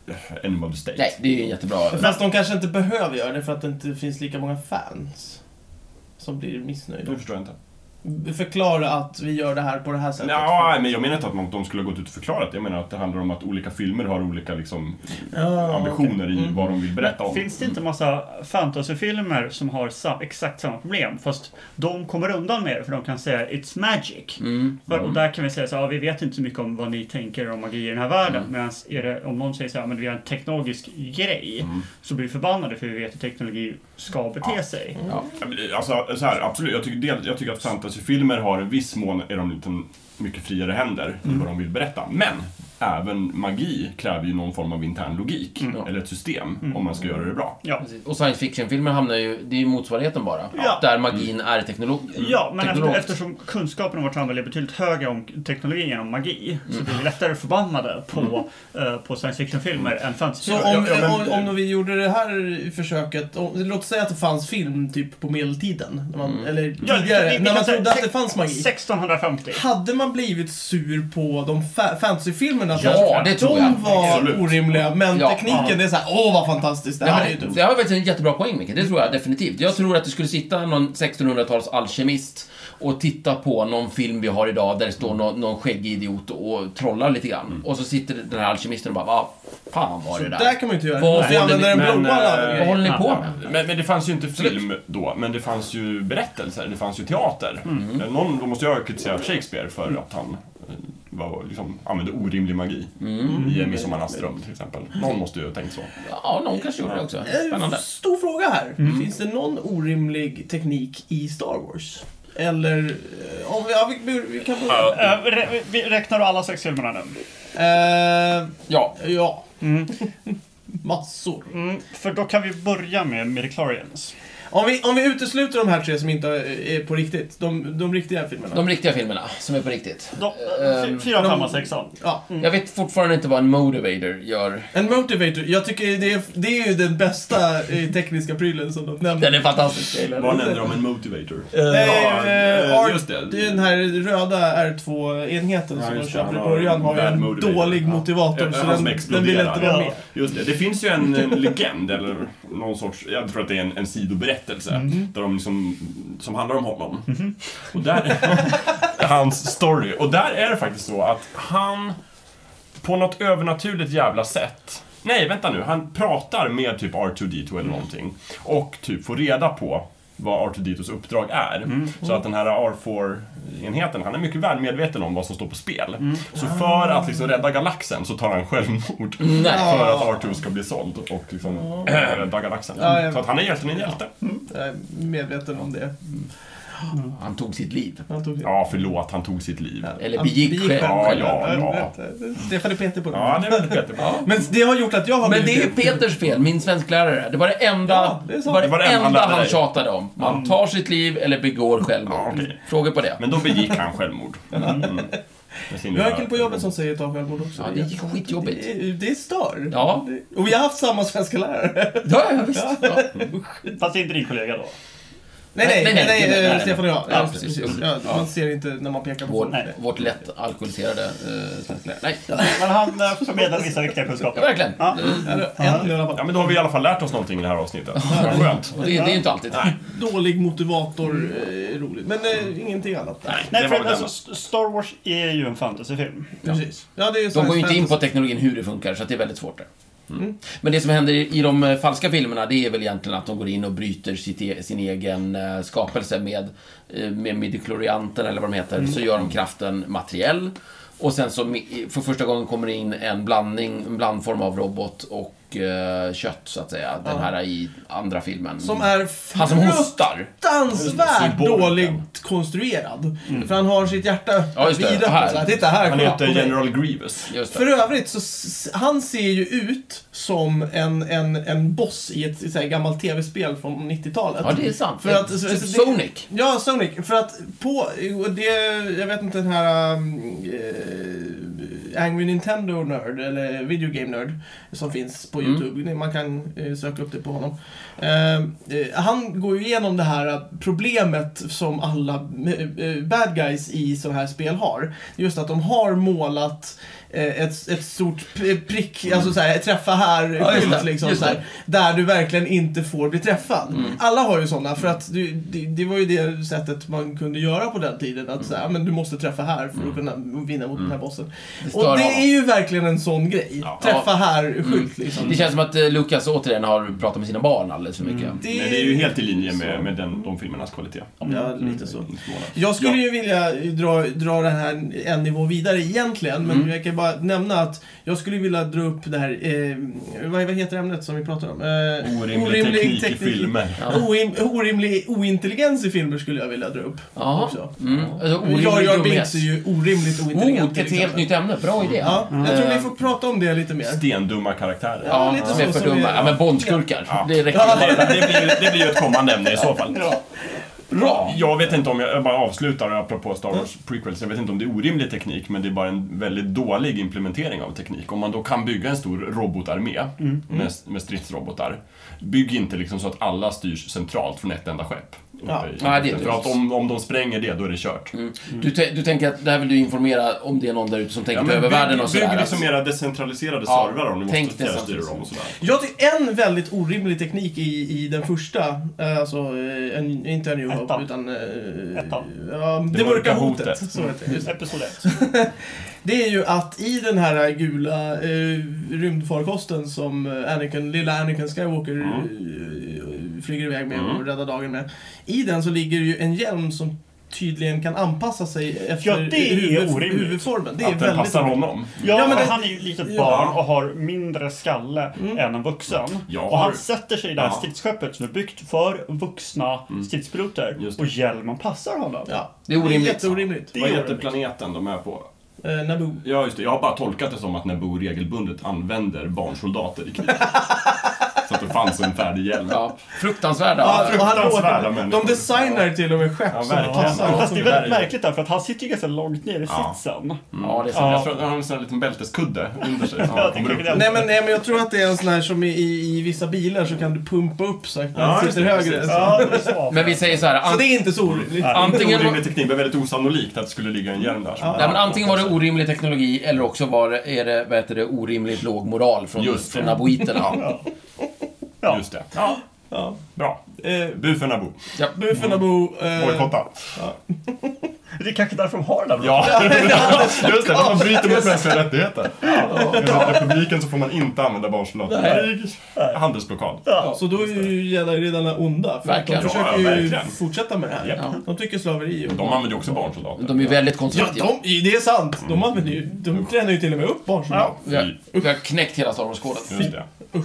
S3: uh, Animal of the State.
S2: Nej, det är ju en jättebra...
S1: Fast de kanske inte behöver göra det för att det inte finns lika många fans. Som blir missnöjda.
S3: Det förstår jag inte.
S4: Mm.
S1: Förklara att vi gör det här på det här sättet.
S3: Nej, men jag menar inte att man, de skulle ha gått ut och förklarat. Jag menar att det handlar om att olika filmer har olika liksom,
S1: Ja,
S3: ambitioner
S1: okej.
S3: i
S1: Mm.
S3: vad de vill berätta om.
S4: Finns det inte massa fantasyfilmer som har sa exakt samma problem? Fast de kommer undan med det för de kan säga It's magic.
S2: Mm.
S4: För- Och där kan vi säga så här, "Ja, vi vet inte så mycket om vad ni tänker om magi i den här
S2: Mm.
S4: världen. Medan är det, om någon säger så här, men vi har en teknologisk grej. Så blir vi förbannade för vi vet hur teknologi ska bete sig.
S2: Mm. Ja.
S3: Ja, men det- Alltså, så här, absolut. Jag tycker, del, jag tycker att fantasyfilmer har en viss mån, är de lite mycket friare händer i vad de vill berätta. Men även magi kräver ju någon form av intern logik, eller ett system, om man ska göra det bra.
S4: Ja.
S2: Precis. Och science fiction-filmer hamnar ju... Det är ju motsvarigheten bara.
S4: Ja.
S2: Där magin är teknolog...
S4: Ja, men efter,
S2: teknolog.
S4: eftersom kunskapen om vårt samhälle är betydligt högre om teknologi än om magi
S2: Mm.
S4: så blir vi lättare förbannade på, eh, på science fiction-filmer än
S1: Så
S4: fantasyfilmer.
S1: om,
S3: Ja, men-
S1: om, om vi gjorde det här försöket, om, låt säga att det fanns film typ på medeltiden, när
S2: Mm.
S1: man, eller
S4: Ja,
S1: tidigare,
S4: vi kan- vi- vi
S1: när
S4: kan
S1: man
S4: säga
S1: trodde att det
S4: sex-
S1: fanns magi.
S4: 1650.
S1: Hade man blivit sur på de fa- fantasyfilmerna?
S2: Ja,
S1: som-
S2: det tror jag.
S1: De var
S3: Absolut.
S1: orimliga, men
S2: Ja.
S1: tekniken det är såhär, åh vad fantastiskt, det här är
S2: Nej,
S1: ju
S2: men
S1: dumt.
S2: det har faktiskt en jättebra poäng, Micke. Det tror jag definitivt. Jag tror att det skulle sitta någon 1600-tals alkemist och titta på någon film vi har idag där det står någon, någon skäggig idiot och trollar lite grann. Och så sitter den här alkemisten och bara, vad fan var
S1: Så
S2: det där?
S1: där kan man ju inte göra.
S2: Vad
S1: Man måste ju
S2: håller
S1: använda
S2: ni-
S1: den
S3: men,
S1: blåa
S3: eh,
S1: lagen.
S2: Vad håller ni på
S3: Ja,
S2: med?
S3: Men, men det fanns ju inte film då, men det fanns ju berättelser, det fanns ju teater. Eh, Någon, då måste jag ha kritiserat Shakespeare för att han eh, var, liksom, använde orimlig magi i En midsommarnattsdröm till exempel. Någon måste ju ha tänkt så.
S2: Ja, någon kanske gjorde det också.
S1: Eh,
S2: Spännande. Mm.
S1: Stor fråga här. Finns det någon orimlig teknik i Star Wars? Eller... eh, Om vi, ja, vi, vi kan börja.
S4: Eh, rä- vi räknar du alla sex filmerna nu?
S1: Eh,
S2: Ja.
S3: Mm.
S1: ja. Massor.
S4: Mm, för då kan vi börja med Midichlorians.
S1: Om vi, om vi utesluter de här tre som inte är på riktigt, de, de riktiga filmerna.
S2: De riktiga filmerna, som är på riktigt.
S4: De,
S2: Ehm,
S4: um, fyra,
S1: de-
S4: femma, sexan.
S1: Ja.
S3: Mm.
S2: Jag vet fortfarande inte vad en motivator gör.
S1: En motivator, jag tycker det är, det är ju den bästa eh, tekniska prylen som de nämner.
S2: Den är fantastisk. jag gillar den.
S3: Vad nämnde de? En motivator?
S1: Eh, eh,
S3: Ja,
S1: Art-
S3: just det.
S1: det är den här röda R2-enheten
S3: Ja,
S1: som de
S3: just det.
S1: köper i
S3: Han har
S1: början har ju
S3: bad
S1: en
S3: motivator.
S1: dålig
S3: Ja.
S1: motivator
S3: Ja,
S1: så
S3: han
S1: den,
S3: som
S1: den vill
S3: exploderar.
S1: inte vara med.
S3: Just det, det finns ju en, en legend, eller någon sorts, jag tror att det är en, en sidoberättelse,
S1: Mm-hmm.
S3: där de liksom, som handlar om honom. Och där, hans story. Och där är det faktiskt så att han, på något övernaturligt jävla sätt, nej vänta nu, han pratar med typ R2D2 eller någonting. Och typ får reda på vad R2D2s uppdrag är.
S1: Mm.
S3: Så att den här R4-enheten, han är mycket väl medveten om vad som står på spel.
S1: Mm.
S3: Så för att liksom rädda galaxen så tar han självmord.
S2: Nej.
S3: För att R2 ska bli såld och liksom rädda galaxen.
S1: Ja, ja.
S3: Så att han är hjälten i en hjälte.
S1: Jag är medveten om det.
S2: Han tog sitt liv.
S1: Han tog det.
S3: Ja, förlåt, han tog sitt liv.
S2: Eller
S1: Han
S2: begick själv.
S3: Ja, ja, ja.
S1: eh, Stefan är petig på det.
S3: Ja, det är väldigt Peter. Ja.
S1: Men det har gjort att jag har
S2: Men det är
S1: blivit petig.
S2: Peters fel, min svensklärare. Det var det enda,
S1: Ja, det är
S2: det
S1: sant.
S2: var det
S3: Det var det enda han
S2: enda
S3: lärde
S2: han
S3: dig.
S2: tjatade om. Man tar sitt liv eller begår självmord.
S3: okej.
S2: Frågor på det?
S3: Men då begick han självmord. Mm. Med sin
S1: Vi har en
S3: lilla-
S1: kille på jobbet som säger ta självmord också.
S2: Ja, det är skitjobbigt.
S1: Det, är- det stör.
S2: Ja.
S1: Det- Och vi har haft samma svenska lärare.
S2: Ja, ja visst. Ja.
S4: Fast det är inte din kollega då.
S1: Nej, nej, nej, nej,
S2: nej, nej, nej.
S1: Stefan och jag.
S2: Ja, precis. Mm.
S1: Ja,
S2: Ja.
S1: man ser inte när man pekar på
S2: Vår,
S1: folk. Nej.
S2: vårt lätt alkoholiserade eh, svensklärare. Nej,
S4: Men han eh, förmedlar vissa viktiga
S2: ja,
S4: kunskaper.
S2: verkligen.
S4: Ja.
S1: Ja, det var En i alla
S3: Ja,
S1: fall.
S3: men då har vi i alla fall lärt oss någonting i det här avsnittet. Vad skönt.
S2: Och det, det är ju inte alltid.
S1: Dålig motivator, eh, roligt. Men
S2: Mm.
S1: eh, ingenting annat.
S3: det
S4: Nej,
S3: var
S4: för
S3: väl
S4: alltså,
S3: den
S4: S- Star Wars är ju en fantasyfilm.
S1: Precis. Ja, det är
S2: De
S1: science
S2: går ju inte in på
S1: fantasy.
S2: teknologin hur det funkar, så att det är väldigt svårt där. Mm. Men det som händer i i de eh, falska filmerna, det är väl egentligen att de går in och bryter sitt e sin egen eh, skapelse med, eh, med midichlorianten eller vad de heter.
S1: Mm.
S2: Så gör de kraften materiell. Och sen så mi- för första gången kommer det in en blandning, en blandform av robot och eh, kött, så att säga. Den här i andra filmen.
S1: Som är
S2: Han som hostar.
S1: fruktansvärt
S3: Symbolen.
S1: dåligt konstruerad. För han har sitt hjärta
S2: Mm. Ja, just det.
S1: i
S2: Här.
S1: röven. Så här, Titta här,
S3: Han
S1: kolla
S3: heter
S1: på mig.
S3: General Grievous.
S2: Just
S1: För
S2: det.
S1: övrigt så s- han ser ju ut som en, en, en boss i ett, i ett så här gammalt tv-spel från 90-talet.
S2: Ja, det är sant.
S1: För att, så-
S2: Typ
S1: så-
S2: Sonic.
S1: Ja, Sonic. För att på, och det, jag vet inte den här um, eh, Angry Nintendo Nerd, eller Video Game Nerd, som finns
S2: Mm.
S1: på YouTube. Man kan eh, söka upp det på honom. Eh, eh, han går ju igenom det här eh, problemet som alla eh, eh, bad guys i sådana här spel har. Just att de har målat eh, ett, ett stort p- prick, alltså såhär, träffa här,
S2: Ja, just det.
S1: skylt liksom.
S2: Just det. Mm.
S1: såhär där du verkligen inte får bli träffad. Alla har ju sådana, för att du, det, det var ju det sättet man kunde göra på den tiden.
S2: Mm.
S1: Att säga, men du måste träffa här för att kunna vinna mot den här bossen.
S2: Det stör
S1: och det
S2: honom.
S1: är ju verkligen en sån grej.
S3: Ja.
S1: Träffa här-skylt liksom.
S2: Det känns som att eh, Lucas återigen har pratat med sina barn alldeles för mycket.
S1: Det,
S3: Men det är ju helt i linje med, med den, de filmernas kvalitet.
S1: Ja, lite så.
S3: Mm.
S1: Jag skulle ju vilja dra, dra den här en nivå vidare egentligen,
S3: Mm.
S1: men jag kan bara nämna att jag skulle vilja dra upp det här, eh, vad, vad heter ämnet som vi pratar om? Eh,
S3: Orimlig, teknik, i filmer.
S2: Ja.
S1: Oim, orimlig ointelligens i filmer skulle jag vilja dra upp.
S2: Jaha.
S1: Också.
S2: Mm. Alltså, orimlig
S1: Jag gör
S2: dumhet.
S1: Binks är ju orimligt
S2: Oh,
S1: ointelligent.
S2: ett
S1: till
S2: helt
S1: exempel.
S2: nytt Mm. ämne. Bra idé.
S1: Ja, jag tror vi får prata om det lite mer.
S3: Stendumma karaktärer.
S1: Ja,
S2: Ja,
S1: lite
S2: som är
S1: så
S2: för
S1: som vi-
S2: dumma. Ja, men Bondskurkar.
S3: Ja.
S2: Det räcker
S1: Ja.
S2: ju bara
S3: Det,
S2: där.
S3: det, blir, ju- det blir ju ett kommande ämne i så fall.
S1: Bra!
S3: Jag vet inte om, jag, jag bara avslutar apropå Star Wars
S4: Mm.
S3: prequels, jag vet inte om det är orimlig teknik men det är bara en väldigt dålig implementering av teknik. Om man då kan bygga en stor robotarmé
S4: Mm.
S3: Med, med stridsrobotar, bygg inte liksom så att alla styrs centralt från ett enda skepp.
S1: Ja.
S3: uppe i-
S2: Nej, det är
S3: För att om, om de spränger det, då är det kört.
S2: Mm. Du, te- du tänker att det här vill du informera om det är någon där ute som tänker
S3: Ja,
S2: ta
S3: men
S2: över världen och
S3: bygg
S2: sådär.
S3: liksom era decentraliserade
S2: Ja,
S3: servrar om ni
S2: tänk
S3: måste fjärrstyra
S2: decentraliserat.
S3: dem och sådär.
S1: Jag tycker en väldigt orimlig teknik i, i den första, eh, alltså, eh, en, inte en New Hope,
S4: Ettan.
S1: utan... eh,
S3: Mm.
S4: Ettan.
S1: Ja, det,
S3: Det
S1: mörka
S3: mörka
S1: hotet.
S3: hotet.
S1: Så heter det. Just det.
S4: Episod 1.
S1: det är ju att i den här gula eh, rymdfarkosten som eh, Anakin, lilla Anakin Skywalker
S3: Mm.
S1: eh, flyger iväg med och räddar dagen med. I den så ligger ju en hjälm som tydligen kan anpassa sig efter
S4: Ja, det är
S1: huvud-
S4: orimligt.
S1: huvudformen. Det är
S3: Att den
S1: väldigt
S3: passar
S1: orimligt.
S3: honom.
S4: Ja,
S1: Ja, men
S4: för
S1: det-
S4: han är ju ett litet
S1: ja. Mm.
S4: barn och har mindre skalle än en vuxen.
S3: Ja.
S4: Och han sätter sig i det här
S3: Ja. Mm.
S4: stridsskeppet som är byggt för vuxna stridspiloter.
S3: Just det.
S4: Och hjälmen passar honom.
S1: Ja,
S2: Det är orimligt.
S1: Det är jätteorimligt.
S4: Det
S3: Vad
S4: gör
S3: heter
S4: det.
S3: planeten de är på?
S1: Eh, Naboo.
S3: Ja, just det. Jag har bara tolkat det som att Naboo regelbundet använder barnsoldater i krig. Så att det fanns en färdig hjälm.
S2: Ja, fruktansvärda.
S1: Ja, och han
S3: fruktansvärda
S1: låter, de
S3: människor.
S1: designar till och med skepp
S3: Ja,
S1: som
S3: verkligen.
S1: passar.
S4: Fast det är väldigt
S3: Ja.
S4: märkligt där, för att han sitter ju ganska långt ner i
S3: Ja.
S4: sitsen.
S2: Mm, Ja, det är sant.
S4: Ja.
S3: Jag tror att han har en sån här liten bälteskudde under sig.
S4: Ja,
S3: Ja,
S4: det kanske
S3: upp.
S4: det.
S1: Nej men, nej men jag tror att det är en sån här som i, i, i vissa bilar så kan du pumpa upp så att den
S3: Ja, just
S1: sitter
S3: det,
S1: högre.
S3: precis.
S1: Så.
S4: det är så.
S2: Men vi säger så här.
S1: så
S2: An-
S1: det är inte så orimligt.
S4: Ja.
S3: Antingen
S2: antingen,
S3: orimlig teknik, men väldigt osannolikt att det skulle ligga en hjälm där.
S1: Ja.
S2: nej, men antingen var det orimlig teknologi eller också var det, är det, vad heter det orimligt låg moral från,
S3: Just det.
S2: från aboiterna.
S4: Ja. Ja.
S3: Just det.
S4: Ja.
S1: Ja.
S3: Bra.
S1: Eh,
S3: Bu för Naboo.
S1: Bu Fennabo... Eh,
S3: Bojkotta.
S4: Det är kanske därför de har den här
S3: Ja, just det. Man bryter mot mänskliga rättigheter. Enligt republiken så får man inte använda barnsoldater. Handelsblockad.
S1: så då är ju Jedi-riddarna onda. För att de
S2: Verkligen.
S1: försöker
S3: Ja,
S1: ju
S3: verkligen.
S1: fortsätta med det här.
S3: Ja.
S1: De tycker slaveri och...
S3: De använder ju också barnsoldater.
S2: De är ju väldigt
S1: Ja,
S2: konservativa.
S1: de, det är sant! De, använder ju, de tränar ju till och med upp barn som
S4: Ja.
S2: Vi har, vi har knäckt hela Star Wars-koden.
S3: Just det. Usch.